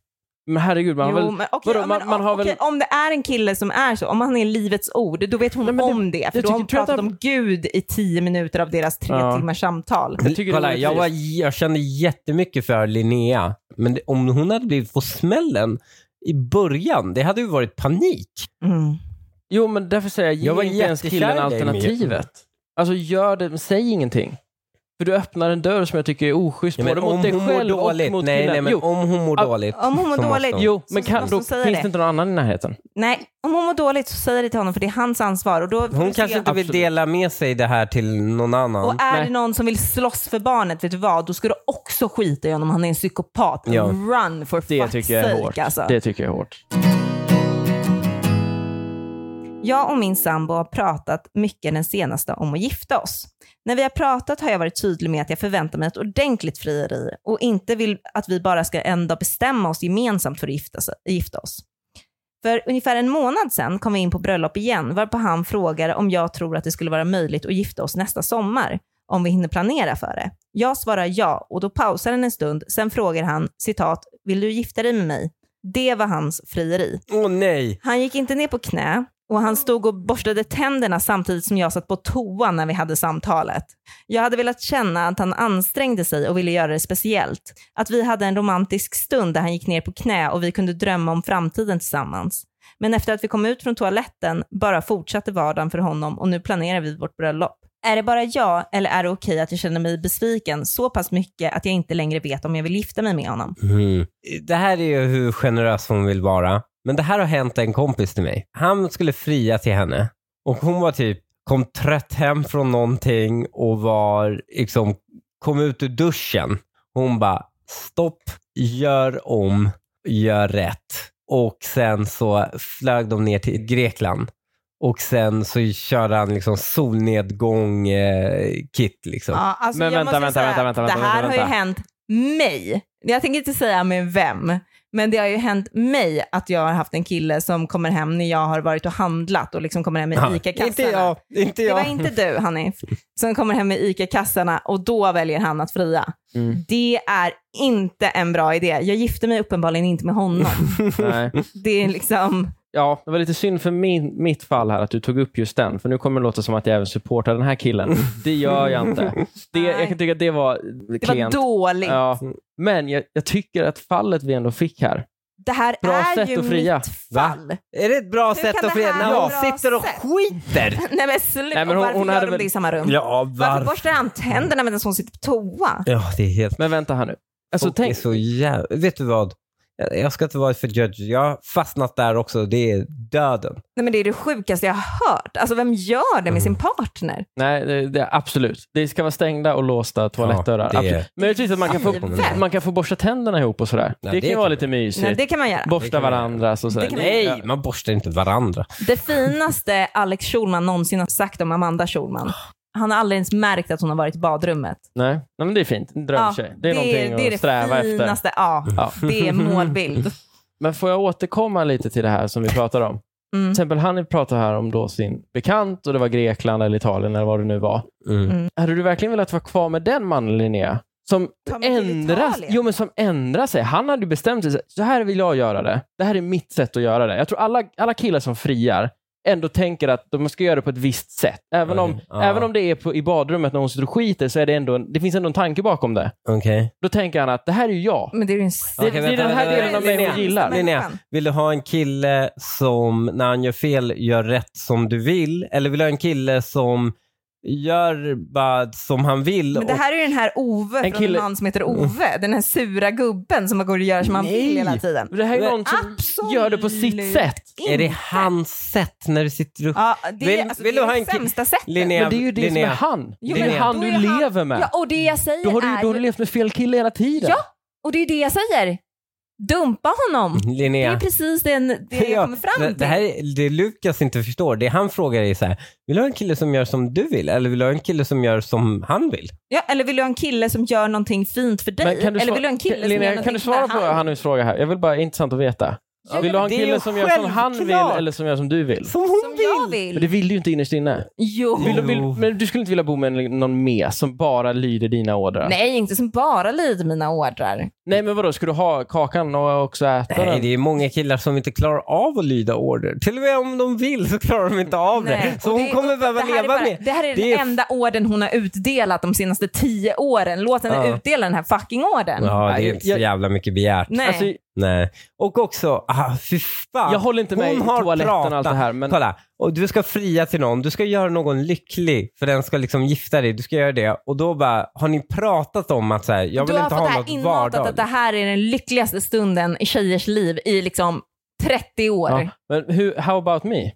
[SPEAKER 3] Men herregud, man
[SPEAKER 1] Jo,
[SPEAKER 3] har väl...
[SPEAKER 1] men, okej,
[SPEAKER 3] vadå,
[SPEAKER 1] ja,
[SPEAKER 3] man-
[SPEAKER 1] men,
[SPEAKER 3] man har
[SPEAKER 1] okej,
[SPEAKER 3] väl-
[SPEAKER 1] Om det är en kille som är så, om han är livets ord, då vet hon
[SPEAKER 3] Nej, men det-
[SPEAKER 1] om det. För
[SPEAKER 3] jag
[SPEAKER 1] då har hon
[SPEAKER 3] tycker- tror jag
[SPEAKER 1] pratat
[SPEAKER 3] att-
[SPEAKER 1] om Gud i tio minuter av deras tre
[SPEAKER 3] Ja.
[SPEAKER 1] timmars samtal.
[SPEAKER 3] Jag tycker det
[SPEAKER 2] Kolla,
[SPEAKER 3] vore
[SPEAKER 2] jag, var,
[SPEAKER 3] trist.
[SPEAKER 2] jag kände jättemycket för Linnea, men det, om hon hade blivit på smällen i början, det hade ju varit panik.
[SPEAKER 1] Mm.
[SPEAKER 3] Jo, men därför säger jag, ge
[SPEAKER 2] Jag var
[SPEAKER 3] inte ens
[SPEAKER 2] jättekär
[SPEAKER 3] killen
[SPEAKER 2] i dig, Mia.
[SPEAKER 3] alternativet. Alltså, gör det, men säg ingenting. För du öppnar en dörr som jag tycker är oschysst,
[SPEAKER 2] Ja, men
[SPEAKER 3] både mot
[SPEAKER 2] om
[SPEAKER 3] dig
[SPEAKER 2] hon mår
[SPEAKER 3] själv
[SPEAKER 2] dåligt,
[SPEAKER 3] och mot
[SPEAKER 2] nej, nej,
[SPEAKER 3] killen.
[SPEAKER 2] men
[SPEAKER 3] jo,
[SPEAKER 2] om hon mår
[SPEAKER 3] Ah,
[SPEAKER 2] dåligt.
[SPEAKER 1] om hon mår
[SPEAKER 2] så måste
[SPEAKER 1] dåligt,
[SPEAKER 2] hon-
[SPEAKER 3] jo, men
[SPEAKER 1] så
[SPEAKER 3] kan,
[SPEAKER 1] måste
[SPEAKER 3] då
[SPEAKER 1] hon säga
[SPEAKER 3] finns
[SPEAKER 1] det.
[SPEAKER 3] det inte någon annan i närheten.
[SPEAKER 1] Nej, om hon mår dåligt så säger det till honom för det är hans ansvar. Och då får vi se-
[SPEAKER 2] Hon kanske inte vill
[SPEAKER 3] Absolut.
[SPEAKER 2] dela med sig det här till någon annan.
[SPEAKER 1] Och är
[SPEAKER 3] Nej.
[SPEAKER 1] det någon som vill slåss för barnet, vet du vad, då ska du också skita i honom. Han är en psykopat.
[SPEAKER 2] Ja.
[SPEAKER 1] Run for
[SPEAKER 3] Det
[SPEAKER 1] fuck's
[SPEAKER 3] tycker jag är
[SPEAKER 1] sake
[SPEAKER 3] hårt.
[SPEAKER 1] alltså.
[SPEAKER 3] Det tycker jag är hårt.
[SPEAKER 1] Jag och min sambo har pratat mycket den senaste om att gifta oss. När vi har pratat har jag varit tydlig med att jag förväntar mig ett ordentligt frieri och inte vill att vi bara ska en dag bestämma oss gemensamt för att gifta, sig, gifta oss. För ungefär en månad sedan kom vi in på bröllop igen varpå han frågade om jag tror att det skulle vara möjligt att gifta oss nästa sommar om vi hinner planera för det. Jag svarar ja och då pausar han en stund. Sen frågar han citat, vill du gifta dig med mig? Det var hans frieri.
[SPEAKER 2] Åh nej!
[SPEAKER 1] Han gick inte ner på knä och han stod och borstade tänderna samtidigt som jag satt på toa när vi hade samtalet. Jag hade velat känna att han ansträngde sig och ville göra det speciellt. Att vi hade en romantisk stund där han gick ner på knä och vi kunde drömma om framtiden tillsammans. Men efter att vi kom ut från toaletten bara fortsatte vardagen för honom och nu planerar vi vårt bröllop. Är det bara jag eller är det okej att jag känner mig besviken så pass mycket att jag inte längre vet om jag vill gifta mig med honom?
[SPEAKER 2] Mm. Det här är ju hur generös hon vill vara. Men det här har hänt en kompis till mig. Han skulle fria till henne och hon var typ, kom trött hem från någonting och var liksom, kom ut ur duschen. Hon bara, stopp, gör om, gör rätt. Och sen så flög de ner till Grekland. Och sen så körde han liksom solnedgång-kit. liksom.
[SPEAKER 1] Ja, alltså
[SPEAKER 3] Men
[SPEAKER 1] jag
[SPEAKER 3] vänta,
[SPEAKER 1] måste
[SPEAKER 3] vänta,
[SPEAKER 1] säga,
[SPEAKER 3] vänta, vänta,
[SPEAKER 1] Det
[SPEAKER 3] vänta,
[SPEAKER 1] här har ju
[SPEAKER 3] vänta.
[SPEAKER 1] hänt mig. Jag tänker inte säga med vem, men det har ju hänt mig att jag har haft en kille som kommer hem när jag har varit och handlat och liksom kommer hem med
[SPEAKER 2] Ja,
[SPEAKER 1] ICA-kassarna.
[SPEAKER 2] Inte jag, inte
[SPEAKER 1] Det
[SPEAKER 2] jag.
[SPEAKER 1] var inte du Hanif, som kommer hem med ICA-kassarna och då väljer han att fria.
[SPEAKER 3] Mm.
[SPEAKER 1] Det är inte en bra idé. Jag gifte mig uppenbarligen inte med honom.
[SPEAKER 3] Nej.
[SPEAKER 1] Det är liksom,
[SPEAKER 3] Ja, det var lite synd för min, mitt fall här att du tog upp just den. För nu kommer det låta som att jag även supportar den här killen. Det gör jag inte. Det,
[SPEAKER 1] Nej.
[SPEAKER 3] jag kan tycka att det var
[SPEAKER 1] det var
[SPEAKER 3] klent.
[SPEAKER 1] dåligt.
[SPEAKER 3] ja. Men jag, jag tycker att fallet vi ändå fick här.
[SPEAKER 1] Det här
[SPEAKER 3] Bra
[SPEAKER 1] är
[SPEAKER 3] sätt
[SPEAKER 1] ju
[SPEAKER 3] att fria.
[SPEAKER 1] mitt fall.
[SPEAKER 2] Är det ett bra
[SPEAKER 1] Hur
[SPEAKER 2] sätt
[SPEAKER 1] kan
[SPEAKER 2] att
[SPEAKER 1] det här
[SPEAKER 2] freda när
[SPEAKER 1] vara
[SPEAKER 2] hon
[SPEAKER 1] bra
[SPEAKER 2] sitter och
[SPEAKER 1] sätt?
[SPEAKER 2] skiter?
[SPEAKER 1] Nej men sluta,
[SPEAKER 3] Nej, men hon-
[SPEAKER 1] varför
[SPEAKER 3] hon
[SPEAKER 1] gör
[SPEAKER 3] hade
[SPEAKER 1] de
[SPEAKER 3] väl-
[SPEAKER 1] det i samma rum?
[SPEAKER 2] Ja,
[SPEAKER 1] Varför borstar han tänderna medan hon sitter på toa?
[SPEAKER 2] Ja, det är helt...
[SPEAKER 3] Men vänta här nu. Alltså,
[SPEAKER 2] Folk är
[SPEAKER 3] tänk,
[SPEAKER 2] så jävla... Vet du vad? Jag jag ska inte vara för judge. Jag har fastnat där också. Det är döden.
[SPEAKER 1] Nej, men det är det sjukaste jag har hört. Alltså vem gör
[SPEAKER 3] Mm.
[SPEAKER 1] det med sin partner?
[SPEAKER 3] nej, det, det, absolut. Det ska vara stängda och låsta toalettdörrar.
[SPEAKER 2] det är-
[SPEAKER 3] absolut. Möjligtvis att man kan, få,
[SPEAKER 1] Givet.
[SPEAKER 3] man kan få borsta tänderna ihop och sådär.
[SPEAKER 2] Ja,
[SPEAKER 3] det,
[SPEAKER 2] det
[SPEAKER 3] kan ju
[SPEAKER 2] kan
[SPEAKER 3] vara
[SPEAKER 2] man.
[SPEAKER 3] lite mysigt.
[SPEAKER 1] Nej, det kan man göra.
[SPEAKER 2] Det
[SPEAKER 3] Borsta
[SPEAKER 2] kan man göra.
[SPEAKER 3] varandra. Så sådär.
[SPEAKER 1] Det kan man
[SPEAKER 2] Nej, man borstar inte varandra.
[SPEAKER 1] Det finaste Alex Schulman någonsin har sagt om Amanda Schulman. Han har aldrig ens märkt att hon har varit i badrummet.
[SPEAKER 3] Nej. nej, men det är fint. En Drömtjej. det är någonting
[SPEAKER 1] det är
[SPEAKER 3] att sträva
[SPEAKER 1] det
[SPEAKER 3] efter.
[SPEAKER 1] finaste, Ja,
[SPEAKER 3] Ja.
[SPEAKER 1] det är målbild.
[SPEAKER 3] Men får jag återkomma lite till det här som vi pratar om? Till
[SPEAKER 1] Mm.
[SPEAKER 3] exempel han pratar här om då sin bekant och det var Grekland eller Italien eller vad det nu var.
[SPEAKER 2] Mm.
[SPEAKER 3] Hade du verkligen velat vara kvar med den mannen Linnea? Som
[SPEAKER 1] Ta mig till
[SPEAKER 3] ändras,
[SPEAKER 1] Italien.
[SPEAKER 3] jo, men som ändrar sig. Han hade ju bestämt sig. Så här vill jag göra det. Det här är mitt sätt att göra det. Jag tror alla, alla killar som friar ändå tänker att de ska göra det på ett visst sätt. Även om,
[SPEAKER 2] Okej, ja.
[SPEAKER 3] även om det är på, i badrummet när hon sitter och skiter så är det ändå en, det finns ändå en tanke bakom det.
[SPEAKER 2] Okej.
[SPEAKER 3] Då tänker han att det här är ju jag.
[SPEAKER 1] Men det är ju en...
[SPEAKER 3] Det,
[SPEAKER 2] Okej,
[SPEAKER 3] det är
[SPEAKER 2] vänta,
[SPEAKER 3] den här
[SPEAKER 2] vänta,
[SPEAKER 3] delen av mig
[SPEAKER 2] Linnea.
[SPEAKER 3] hon gillar.
[SPEAKER 2] Linnea, vill du ha en kille som när han gör fel gör rätt som du vill? Eller vill du ha en kille som gör bara som han vill?
[SPEAKER 1] Men det här är ju den här Ove från
[SPEAKER 3] En kille- Mm.
[SPEAKER 1] en man som heter Ove. Den här sura gubben som går och gör som han vill hela tiden.
[SPEAKER 3] Det här är
[SPEAKER 2] Men
[SPEAKER 3] någon som
[SPEAKER 1] absolut
[SPEAKER 3] gör det på sitt sätt.
[SPEAKER 2] och, är det hans sätt när du sitter och...
[SPEAKER 1] Ja, det,
[SPEAKER 2] Vill-
[SPEAKER 1] är alltså,
[SPEAKER 2] vill
[SPEAKER 1] det
[SPEAKER 2] du
[SPEAKER 1] är
[SPEAKER 2] ha
[SPEAKER 1] det
[SPEAKER 2] en ki-
[SPEAKER 1] sämsta sättet.
[SPEAKER 2] Linnea,
[SPEAKER 3] Men det är ju det som
[SPEAKER 2] Linnea.
[SPEAKER 3] är han.
[SPEAKER 1] Jo,
[SPEAKER 3] det är
[SPEAKER 2] men
[SPEAKER 3] ju han
[SPEAKER 1] då
[SPEAKER 3] du
[SPEAKER 1] är han-
[SPEAKER 3] lever med.
[SPEAKER 1] Ja, och det jag säger
[SPEAKER 3] Då har du,
[SPEAKER 1] är...
[SPEAKER 3] då har du levt med fel kille hela tiden.
[SPEAKER 1] Ja, och det är det jag säger. Dumpa honom. Det
[SPEAKER 2] Linnea.
[SPEAKER 1] är precis den, det jag
[SPEAKER 2] Mm. Ja,
[SPEAKER 1] kommer fram
[SPEAKER 2] det,
[SPEAKER 1] till.
[SPEAKER 2] det här är, det Lukas inte förstår, det han frågar är så här, vill du ha en kille som gör som du vill eller vill du ha en kille som gör som han vill?
[SPEAKER 1] ja, eller vill du ha en kille som gör någonting fint för dig?
[SPEAKER 3] Men kan du
[SPEAKER 1] eller
[SPEAKER 3] sva-
[SPEAKER 1] vill du ha en kille som gör
[SPEAKER 3] Linnea,
[SPEAKER 1] någonting
[SPEAKER 3] kan du svara på
[SPEAKER 1] för han?
[SPEAKER 3] Hannys fråga här? Jag vill bara, intressant att veta.
[SPEAKER 1] Ja,
[SPEAKER 3] vill du ha en
[SPEAKER 2] det är ju
[SPEAKER 3] kille som gör som han vill
[SPEAKER 2] självklart.
[SPEAKER 3] eller som gör som du vill?
[SPEAKER 2] Som hon
[SPEAKER 1] Som
[SPEAKER 2] vill!
[SPEAKER 1] jag
[SPEAKER 3] Men
[SPEAKER 1] vill.
[SPEAKER 3] det vill du ju inte innerst inne.
[SPEAKER 1] Jo.
[SPEAKER 3] Vill du, vill,
[SPEAKER 2] Jo.
[SPEAKER 3] men du skulle inte vilja bo med en- någon med som bara lyder dina order?
[SPEAKER 1] Nej, inte som bara lyder mina ordrar.
[SPEAKER 3] Nej, men vadå, ska du ha kakan och också äta
[SPEAKER 2] Nej,
[SPEAKER 3] den?
[SPEAKER 2] det är många killar som inte klarar av att lyda order. Till och med om de vill så klarar de inte av
[SPEAKER 1] Nej,
[SPEAKER 2] det. Så
[SPEAKER 1] och
[SPEAKER 2] hon
[SPEAKER 1] är
[SPEAKER 2] kommer
[SPEAKER 1] upp-
[SPEAKER 2] behöva
[SPEAKER 1] det här är
[SPEAKER 2] leva
[SPEAKER 1] bara-
[SPEAKER 2] med.
[SPEAKER 1] Det här är
[SPEAKER 2] Det är-
[SPEAKER 1] den enda orden hon har utdelat de senaste tio åren. Låt henne
[SPEAKER 2] Ja.
[SPEAKER 1] utdela den här fucking orden.
[SPEAKER 2] Ja, det är
[SPEAKER 3] Nej,
[SPEAKER 2] inte så
[SPEAKER 3] jag-
[SPEAKER 2] jävla mycket begärt.
[SPEAKER 1] Nej.
[SPEAKER 3] Alltså,
[SPEAKER 2] Nej. Och också, ah, fy fan.
[SPEAKER 3] Jag håller inte med i
[SPEAKER 2] Hon har
[SPEAKER 3] toaletten och
[SPEAKER 2] pratat.
[SPEAKER 3] allt det här, men-
[SPEAKER 2] Kolla, och du ska fria till någon. Du ska göra någon lycklig för den ska liksom gifta dig. Du ska göra det. Och då bara, har ni pratat om att så här, jag
[SPEAKER 1] Du
[SPEAKER 2] vill
[SPEAKER 1] har
[SPEAKER 2] inte
[SPEAKER 1] fått
[SPEAKER 2] ha
[SPEAKER 1] det här
[SPEAKER 2] något
[SPEAKER 1] inmatat att
[SPEAKER 2] vardagligt?
[SPEAKER 1] det här är den lyckligaste stunden i tjejers liv i liksom 30 år.
[SPEAKER 3] Ja. Men hur, how about me?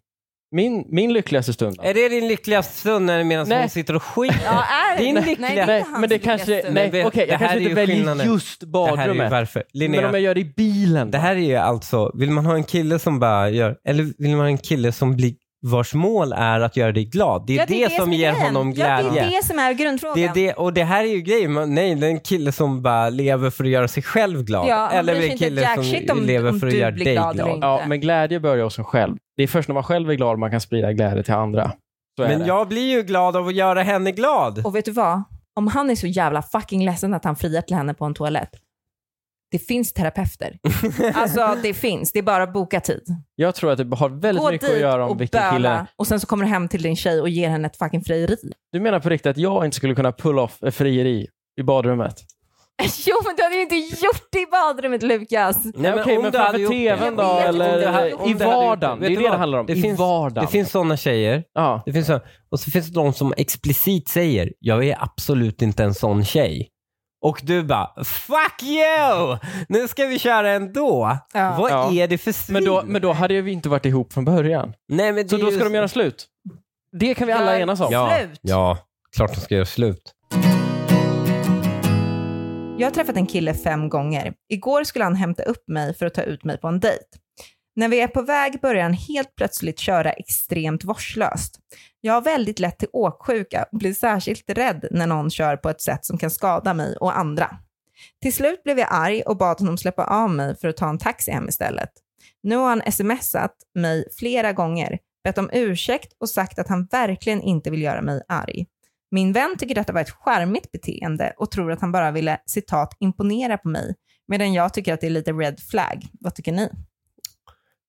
[SPEAKER 3] Min, min lyckligaste stund? då?
[SPEAKER 2] Är det din lyckligaste stund när medan
[SPEAKER 3] Nej.
[SPEAKER 2] hon sitter och skiter?
[SPEAKER 1] Ja, är det-
[SPEAKER 2] Din
[SPEAKER 1] nej,
[SPEAKER 2] lyckliga-
[SPEAKER 1] det är inte
[SPEAKER 3] Nej,
[SPEAKER 1] hans
[SPEAKER 3] men det
[SPEAKER 1] lyckligaste
[SPEAKER 3] kanske...
[SPEAKER 1] stund.
[SPEAKER 3] Nej,
[SPEAKER 2] Men
[SPEAKER 3] okej,
[SPEAKER 2] vet- det
[SPEAKER 3] jag
[SPEAKER 2] här
[SPEAKER 3] kanske
[SPEAKER 2] är ju
[SPEAKER 3] inte väljer
[SPEAKER 2] skillnaden.
[SPEAKER 3] just
[SPEAKER 2] det här är ju
[SPEAKER 3] badrummet.
[SPEAKER 2] varför.
[SPEAKER 3] Men
[SPEAKER 2] Linnea,
[SPEAKER 3] om jag gör det i bilen?
[SPEAKER 2] det här är ju alltså, vill man ha en kille som bara gör, eller vill man ha en kille som blir, vars mål är att göra dig glad? Det är
[SPEAKER 1] Ja,
[SPEAKER 2] det, som,
[SPEAKER 1] är
[SPEAKER 2] ger
[SPEAKER 1] grejen.
[SPEAKER 2] honom
[SPEAKER 1] Ja,
[SPEAKER 2] glädje.
[SPEAKER 1] det är det som är grundfrågan.
[SPEAKER 2] Det är det, och det här är ju grejen. Man, nej, det är en kille som bara lever för att göra sig själv glad.
[SPEAKER 1] Ja, han
[SPEAKER 2] eller
[SPEAKER 1] bryr sig
[SPEAKER 2] en
[SPEAKER 1] inte
[SPEAKER 2] kille
[SPEAKER 1] jack
[SPEAKER 2] som
[SPEAKER 1] shit om-
[SPEAKER 2] lever
[SPEAKER 1] om
[SPEAKER 2] för att
[SPEAKER 1] du
[SPEAKER 2] göra
[SPEAKER 1] blir
[SPEAKER 2] dig
[SPEAKER 1] glad
[SPEAKER 2] glad.
[SPEAKER 1] eller inte.
[SPEAKER 3] Ja, men glädje börjar hos en själv. Det är först när man själv är glad man kan sprida glädje till andra. Så är
[SPEAKER 2] Men
[SPEAKER 3] det.
[SPEAKER 2] jag blir ju glad av att göra henne glad.
[SPEAKER 1] Och vet du vad? Om han är så jävla fucking ledsen att han friar till henne på en toalett. Det finns terapeuter. Alltså det finns. Det är bara att boka tid.
[SPEAKER 3] Jag tror att det har väldigt
[SPEAKER 1] Gå
[SPEAKER 3] mycket att
[SPEAKER 1] dit
[SPEAKER 3] göra
[SPEAKER 1] och
[SPEAKER 3] om vilken kille...
[SPEAKER 1] böla och sen så kommer du hem till din tjej och ger henne ett fucking frieri.
[SPEAKER 3] Du menar på riktigt att jag inte skulle kunna pull off ett frieri i badrummet?
[SPEAKER 1] Jo men du hade ju inte gjort det i badrummet Lukas.
[SPEAKER 2] Nej,
[SPEAKER 3] Okej, men framför
[SPEAKER 2] gjort
[SPEAKER 3] TVn
[SPEAKER 1] då,
[SPEAKER 2] det- Jag vet
[SPEAKER 1] eller
[SPEAKER 2] inte, om du hade-
[SPEAKER 1] i
[SPEAKER 2] om du hade
[SPEAKER 3] vardagen.
[SPEAKER 2] gjort
[SPEAKER 3] Det är
[SPEAKER 2] Vet
[SPEAKER 3] det
[SPEAKER 2] du
[SPEAKER 3] det
[SPEAKER 2] vad?
[SPEAKER 3] handlar om.
[SPEAKER 2] Det
[SPEAKER 3] I
[SPEAKER 2] finns,
[SPEAKER 3] vardagen.
[SPEAKER 2] Det finns sådana tjejer.
[SPEAKER 3] Ja.
[SPEAKER 2] Det finns så, och så finns det de som explicit säger, jag är absolut inte en sån tjej. Och du bara, fuck you! Nu ska vi köra ändå.
[SPEAKER 1] Ja.
[SPEAKER 2] Vad
[SPEAKER 3] Ja.
[SPEAKER 2] är det för stil?
[SPEAKER 3] Men då, men då hade ju vi inte varit ihop från början.
[SPEAKER 2] Nej, men
[SPEAKER 3] Så
[SPEAKER 2] det är
[SPEAKER 3] då
[SPEAKER 2] ju-
[SPEAKER 3] ska de göra slut? Det kan vi alla
[SPEAKER 1] Gör
[SPEAKER 3] enas om.
[SPEAKER 2] ja,
[SPEAKER 1] slut.
[SPEAKER 2] Ja, klart de ska göra slut.
[SPEAKER 1] Jag har träffat en kille fem gånger. Igår skulle han hämta upp mig för att ta ut mig på en dejt. När vi är på väg börjar han helt plötsligt köra extremt vårdslöst. Jag har väldigt lätt till åksjuka och blir särskilt rädd när någon kör på ett sätt som kan skada mig och andra. Till slut blev jag arg och bad honom släppa av mig för att ta en taxi hem istället. Nu har han smsat mig flera gånger, bett om ursäkt och sagt att han verkligen inte vill göra mig arg. Min vän tycker detta var ett charmigt beteende och tror att han bara ville citat imponera på mig, medan jag tycker att det är lite red flag. Vad tycker ni?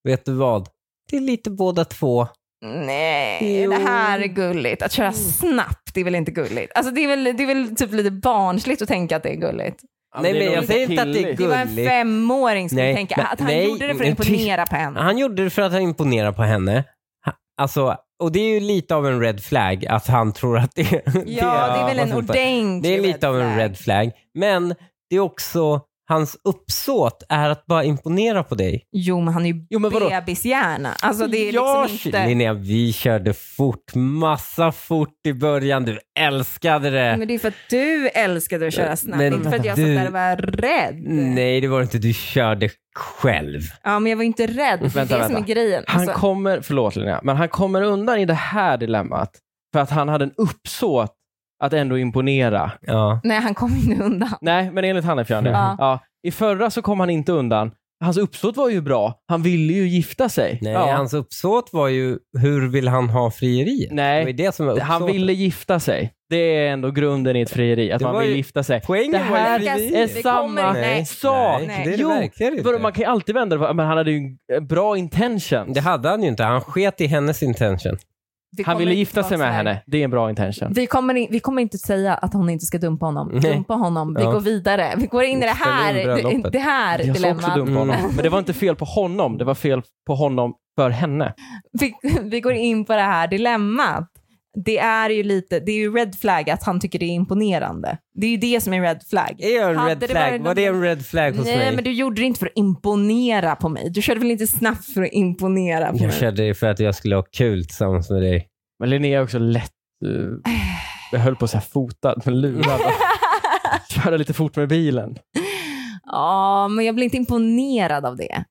[SPEAKER 2] Vet du vad? Det är lite båda två.
[SPEAKER 1] Nej,
[SPEAKER 2] Jo.
[SPEAKER 1] det här är gulligt. Att köra snabbt det är väl inte gulligt? Alltså det är väl, det är väl typ lite barnsligt att tänka att det är gulligt.
[SPEAKER 3] Ja,
[SPEAKER 2] Nej,
[SPEAKER 3] Alltså, det är
[SPEAKER 2] men
[SPEAKER 3] nog
[SPEAKER 2] jag
[SPEAKER 3] lite
[SPEAKER 2] säger inte att det är
[SPEAKER 3] killigt.
[SPEAKER 1] Det var en
[SPEAKER 2] Gulligt.
[SPEAKER 1] femåring skulle
[SPEAKER 2] Nej,
[SPEAKER 1] tänka
[SPEAKER 2] men-
[SPEAKER 1] att han
[SPEAKER 2] nej,
[SPEAKER 1] gjorde det för att
[SPEAKER 2] men tyst.
[SPEAKER 1] imponera på henne.
[SPEAKER 2] Han gjorde det för att han imponerar på henne. Ha- Alltså, och det är ju lite av en red flag att han tror att det,
[SPEAKER 1] Ja, det är väl en
[SPEAKER 2] vad ska man säga?
[SPEAKER 1] ordentlig
[SPEAKER 2] Det är lite av en
[SPEAKER 1] flag.
[SPEAKER 2] red flag. Men det är också hans uppsåt är att bara imponera på dig.
[SPEAKER 1] Jo, men han är ju
[SPEAKER 3] Jo, men vadå?
[SPEAKER 1] bebishjärna. Alltså det är
[SPEAKER 2] Ja,
[SPEAKER 1] liksom inte...
[SPEAKER 2] Linnea, vi körde fort. Massa fort i början. Du älskade det.
[SPEAKER 1] Men det är för att du älskade att köra snabbt,
[SPEAKER 2] Men
[SPEAKER 1] inte för att jag
[SPEAKER 2] du-
[SPEAKER 1] satt där och var rädd.
[SPEAKER 2] Nej, det var inte. Du körde själv.
[SPEAKER 1] Ja, men jag var inte rädd. Det är
[SPEAKER 3] Vänta,
[SPEAKER 1] det som är
[SPEAKER 3] vänta.
[SPEAKER 1] grejen.
[SPEAKER 3] Han
[SPEAKER 1] Alltså,
[SPEAKER 3] kommer, förlåt Linnea, men han kommer undan i det här dilemmat för att han hade en uppsåt att ändå imponera.
[SPEAKER 2] Ja.
[SPEAKER 1] Nej, han kom inte undan.
[SPEAKER 3] Nej, men enligt han är fjärde.
[SPEAKER 1] Ja.
[SPEAKER 3] Ja. I förra så kom han inte undan. Hans uppsåt var ju bra. Han ville ju gifta sig.
[SPEAKER 2] Nej,
[SPEAKER 3] ja.
[SPEAKER 2] hans uppsåt var ju hur vill han ha frieriet?
[SPEAKER 3] Nej.
[SPEAKER 2] Det var ju det som var uppsåtet.
[SPEAKER 3] han ville gifta sig. Det är ändå grunden i ett frieri, att
[SPEAKER 2] Det var
[SPEAKER 3] man vill
[SPEAKER 2] ju-
[SPEAKER 3] gifta sig.
[SPEAKER 2] Poängen
[SPEAKER 3] det
[SPEAKER 2] var ju
[SPEAKER 3] här
[SPEAKER 1] frieri.
[SPEAKER 3] är
[SPEAKER 1] Vi
[SPEAKER 3] samma
[SPEAKER 1] kommer- nej.
[SPEAKER 3] sak.
[SPEAKER 2] Nej, det är det
[SPEAKER 3] jo,
[SPEAKER 2] verkligen inte.
[SPEAKER 3] vadå, man kan ju alltid vända det på- men han hade ju en bra intention.
[SPEAKER 2] Det hade han ju inte. Han sket i hennes intention.
[SPEAKER 1] Vi
[SPEAKER 3] Han
[SPEAKER 1] kommer
[SPEAKER 3] ville
[SPEAKER 1] inte
[SPEAKER 3] gifta sig
[SPEAKER 1] tillbaka
[SPEAKER 3] med
[SPEAKER 1] till det här.
[SPEAKER 3] henne. Det är en bra intention.
[SPEAKER 1] Vi kommer, in, vi kommer inte säga att hon inte ska dumpa honom.
[SPEAKER 2] Nej.
[SPEAKER 1] Dumpa honom. Vi
[SPEAKER 2] Ja.
[SPEAKER 1] går vidare. Vi går in i det
[SPEAKER 2] Ställ in
[SPEAKER 1] här, det,
[SPEAKER 2] bröllopet.
[SPEAKER 1] det här
[SPEAKER 3] Jag sa också
[SPEAKER 1] dilemmat.
[SPEAKER 3] dumt på honom.
[SPEAKER 2] Mm.
[SPEAKER 3] Men det var inte fel på honom. Det var fel på honom för henne.
[SPEAKER 1] Vi, vi går in på det här dilemmat. Det är ju lite, det är ju red flag att han tycker det är imponerande. Det är ju det som är red flag.
[SPEAKER 2] Är jag en
[SPEAKER 1] Hade
[SPEAKER 2] red
[SPEAKER 1] det
[SPEAKER 2] flag?
[SPEAKER 1] varit
[SPEAKER 2] Var det en red flag hos
[SPEAKER 1] Nej,
[SPEAKER 2] mig?
[SPEAKER 1] men du gjorde det inte för att imponera på mig. Du körde väl inte snabbt för att imponera på
[SPEAKER 2] Jag
[SPEAKER 1] mig?
[SPEAKER 2] körde det för att jag skulle ha kul tillsammans med dig.
[SPEAKER 3] Men Linnea är också lätt... eh, jag höll på att säga fotad, men lurad. Köra lite fort med bilen.
[SPEAKER 1] Ja, men jag blev inte imponerad av det.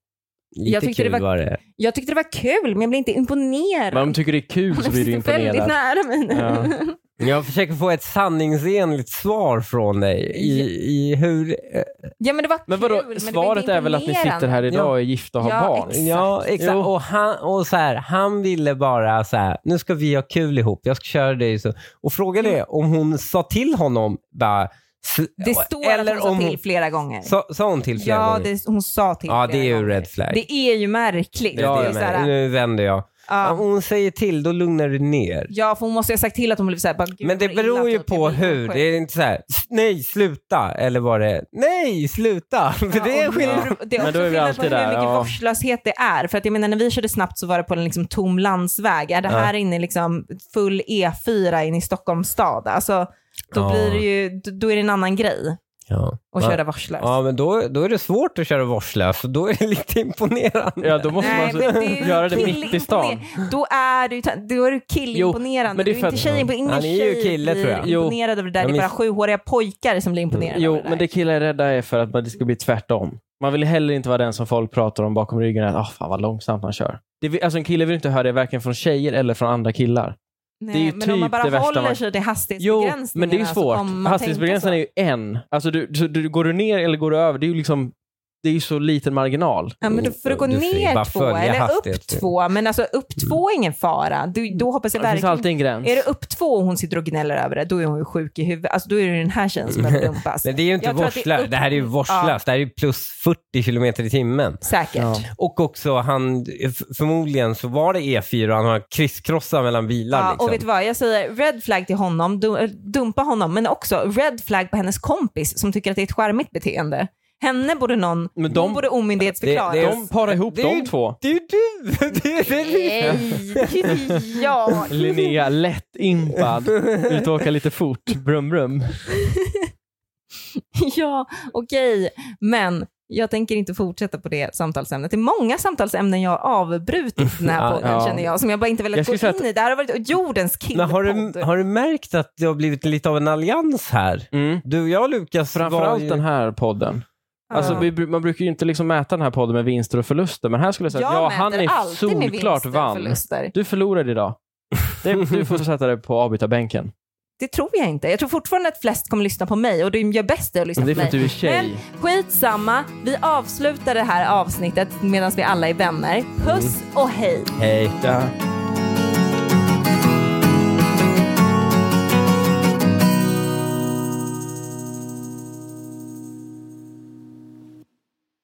[SPEAKER 2] Lite
[SPEAKER 1] Jag tyckte
[SPEAKER 2] kul
[SPEAKER 1] det
[SPEAKER 2] var...
[SPEAKER 1] var-
[SPEAKER 2] det.
[SPEAKER 1] Jag tyckte det var kul, men jag blev inte imponerad.
[SPEAKER 3] Men om du tycker det är kul så blir du
[SPEAKER 1] Jag sitter väldigt
[SPEAKER 3] imponerad.
[SPEAKER 1] nära mig nu.
[SPEAKER 3] Ja.
[SPEAKER 2] Jag försöker få ett sanningsenligt svar från dig i, i hur... eh,
[SPEAKER 1] Ja, men det var
[SPEAKER 3] Men
[SPEAKER 1] kul,
[SPEAKER 3] vadå,
[SPEAKER 1] men det var
[SPEAKER 3] svaret
[SPEAKER 1] inte
[SPEAKER 3] är väl att ni
[SPEAKER 1] imponerande.
[SPEAKER 3] sitter här idag och är gifta och har
[SPEAKER 1] Ja,
[SPEAKER 3] barn?
[SPEAKER 1] exakt.
[SPEAKER 2] Ja, exakt.
[SPEAKER 3] Jo.
[SPEAKER 2] Och, han, och så här, han ville bara så här, nu ska vi ha kul ihop, jag ska köra dig. Så. Och frågan är om hon sa till honom bara... s-
[SPEAKER 1] Det står att hon sa till flera gånger.
[SPEAKER 2] Sa, sa hon till flera
[SPEAKER 1] ja,
[SPEAKER 2] gånger?
[SPEAKER 1] det, hon sa till
[SPEAKER 2] ja,
[SPEAKER 1] flera
[SPEAKER 2] det är ju
[SPEAKER 1] gånger.
[SPEAKER 2] red flag.
[SPEAKER 1] Det är ju märkligt.
[SPEAKER 2] ja,
[SPEAKER 1] det
[SPEAKER 2] jag
[SPEAKER 1] är så
[SPEAKER 2] med.
[SPEAKER 1] här,
[SPEAKER 2] nu vänder jag.
[SPEAKER 1] Ja.
[SPEAKER 2] Om hon säger till, då lugnar du ner.
[SPEAKER 1] Ja, för hon måste ju ha sagt till att hon blev såhär, bara, "Gud,
[SPEAKER 2] Men det
[SPEAKER 1] vad illa,
[SPEAKER 2] beror ju
[SPEAKER 1] typ.
[SPEAKER 2] på
[SPEAKER 1] Jag blir
[SPEAKER 2] hur.
[SPEAKER 1] sjuk."
[SPEAKER 2] Det är inte så här, "S- nej, sluta, eller vad det är. Nej, sluta! För det är
[SPEAKER 1] och
[SPEAKER 2] skillnad.
[SPEAKER 1] hur- Det är
[SPEAKER 3] Men
[SPEAKER 1] också
[SPEAKER 3] då är vi
[SPEAKER 1] skillnad på
[SPEAKER 3] alltid
[SPEAKER 1] hur
[SPEAKER 3] där,
[SPEAKER 1] mycket
[SPEAKER 3] ja.
[SPEAKER 1] vårdslöshet det är. För att jag menar när vi körde snabbt så var det på en liksom tom landsväg. Är det här inne i liksom full E4 in i Stockholms stad? Alltså, då,
[SPEAKER 2] Ja.
[SPEAKER 1] blir det ju, då är det en annan grej
[SPEAKER 2] Ja.
[SPEAKER 1] att
[SPEAKER 2] Ja.
[SPEAKER 1] köra vårdslöst.
[SPEAKER 2] Ja, men då, då är det svårt att köra vårdslöst och då är det lite imponerande.
[SPEAKER 3] Ja, då måste
[SPEAKER 1] Nej,
[SPEAKER 3] man
[SPEAKER 1] men det är ju
[SPEAKER 3] göra det mitt i
[SPEAKER 1] killimponer-
[SPEAKER 3] stan.
[SPEAKER 1] Då är du, då är du killimponerande.
[SPEAKER 3] men det är
[SPEAKER 1] Du
[SPEAKER 3] för
[SPEAKER 1] inte
[SPEAKER 3] att-
[SPEAKER 1] tjejen, ingen
[SPEAKER 2] Han är ju
[SPEAKER 1] tjej
[SPEAKER 2] kille,
[SPEAKER 1] blir
[SPEAKER 2] tror jag.
[SPEAKER 3] Jo.
[SPEAKER 1] imponerad över det där.
[SPEAKER 2] Jag
[SPEAKER 1] det är bara
[SPEAKER 2] minns-
[SPEAKER 1] sjuåriga pojkar som blir imponerade
[SPEAKER 3] Jo,
[SPEAKER 1] över det
[SPEAKER 3] men det killar är rädda är för att man- det ska bli tvärtom. Man vill heller inte vara den som folk pratar om bakom ryggen. Att, oh, fan vad långsamt han kör. Det, vill- alltså en kille vill inte höra det varken från tjejer eller från andra killar.
[SPEAKER 1] Nej,
[SPEAKER 3] det är ju
[SPEAKER 1] men om man
[SPEAKER 3] typ det
[SPEAKER 1] bara
[SPEAKER 3] värsta
[SPEAKER 1] håller
[SPEAKER 3] man-
[SPEAKER 1] sig till
[SPEAKER 3] Jo,
[SPEAKER 1] hastighetsbegränsningarna
[SPEAKER 3] men det är ju
[SPEAKER 1] så
[SPEAKER 3] svårt.
[SPEAKER 1] kommer man tänka så.
[SPEAKER 3] Hastighetsbegränsningen är ju en. Alltså du, så du, går du ner eller går du över, det är ju liksom, det är ju så liten marginal.
[SPEAKER 1] Ja, men då får du gå
[SPEAKER 2] Du får ju bara
[SPEAKER 1] ner två
[SPEAKER 2] följa
[SPEAKER 1] eller upp
[SPEAKER 2] hastigheten. två.
[SPEAKER 1] två. Men alltså upp två är ingen fara. Du, då hoppas jag
[SPEAKER 3] Det finns alltid
[SPEAKER 1] verkligen...
[SPEAKER 3] en gräns.
[SPEAKER 1] Är det upp två och hon sitter och gnäller över det, då är hon ju sjuk i huvudet. Alltså, då är det den här tjejen som behöver dumpas.
[SPEAKER 2] Men det är ju inte
[SPEAKER 1] Jag tror att det är
[SPEAKER 2] vårdslöst. Det,
[SPEAKER 1] upp-
[SPEAKER 2] här är ju vårdslöst. Det här är ju plus 40 kilometer i timmen.
[SPEAKER 1] Säkert.
[SPEAKER 3] Ja.
[SPEAKER 2] Och också han, f- förmodligen så var det E4 och han har krisskrossan mellan bilar.
[SPEAKER 1] Ja,
[SPEAKER 2] liksom.
[SPEAKER 1] och vet du vad, jag säger red flag till honom, du, äh, dumpa honom, men också red flag på hennes kompis som tycker att det är ett charmigt beteende. Henne borde någon,
[SPEAKER 3] Men de-
[SPEAKER 1] hon borde omyndighetsförklaras.
[SPEAKER 2] Det- det är-
[SPEAKER 3] De parar ihop
[SPEAKER 2] det är
[SPEAKER 3] de
[SPEAKER 2] ju-
[SPEAKER 3] två.
[SPEAKER 2] Det är ju du! Det är, det är du.
[SPEAKER 1] Nej, det är jag.
[SPEAKER 3] Linnea, lätt impad. Ut och åka lite fort. Brum, brum.
[SPEAKER 1] Ja, okej, men jag tänker inte fortsätta på det samtalsämnet. Det är många samtalsämnen jag har avbrutit den här
[SPEAKER 2] Ja,
[SPEAKER 1] podden
[SPEAKER 3] ja.
[SPEAKER 1] känner jag, som jag bara inte
[SPEAKER 3] Jag
[SPEAKER 1] velat gå
[SPEAKER 3] skulle säga att-
[SPEAKER 1] in i. Det här har varit jordens
[SPEAKER 2] Men
[SPEAKER 1] killpodd.
[SPEAKER 2] har du, har du märkt att det har blivit lite av en allians här?
[SPEAKER 1] Mm.
[SPEAKER 2] Du och jag Lukas var ju...
[SPEAKER 3] Framförallt den här podden. Alltså, vi, bru- man brukar ju inte liksom mäta den här podden med vinster och förluster, men här skulle jag säga att ja, han är solklart vann.
[SPEAKER 1] Förluster.
[SPEAKER 3] Du förlorade idag. Det, du får sätta dig på avbytarbänken.
[SPEAKER 1] Det tror jag inte. Jag tror fortfarande att flest kommer lyssna på mig och de gör bäst i att lyssna
[SPEAKER 3] Det är
[SPEAKER 1] på
[SPEAKER 3] för
[SPEAKER 1] mig.
[SPEAKER 3] att du är
[SPEAKER 1] Men
[SPEAKER 3] tjej.
[SPEAKER 1] skitsamma, vi
[SPEAKER 3] Mm.
[SPEAKER 1] avslutar det här avsnittet medan vi alla är vänner. Puss och hej!
[SPEAKER 2] Hej.
[SPEAKER 3] Ja.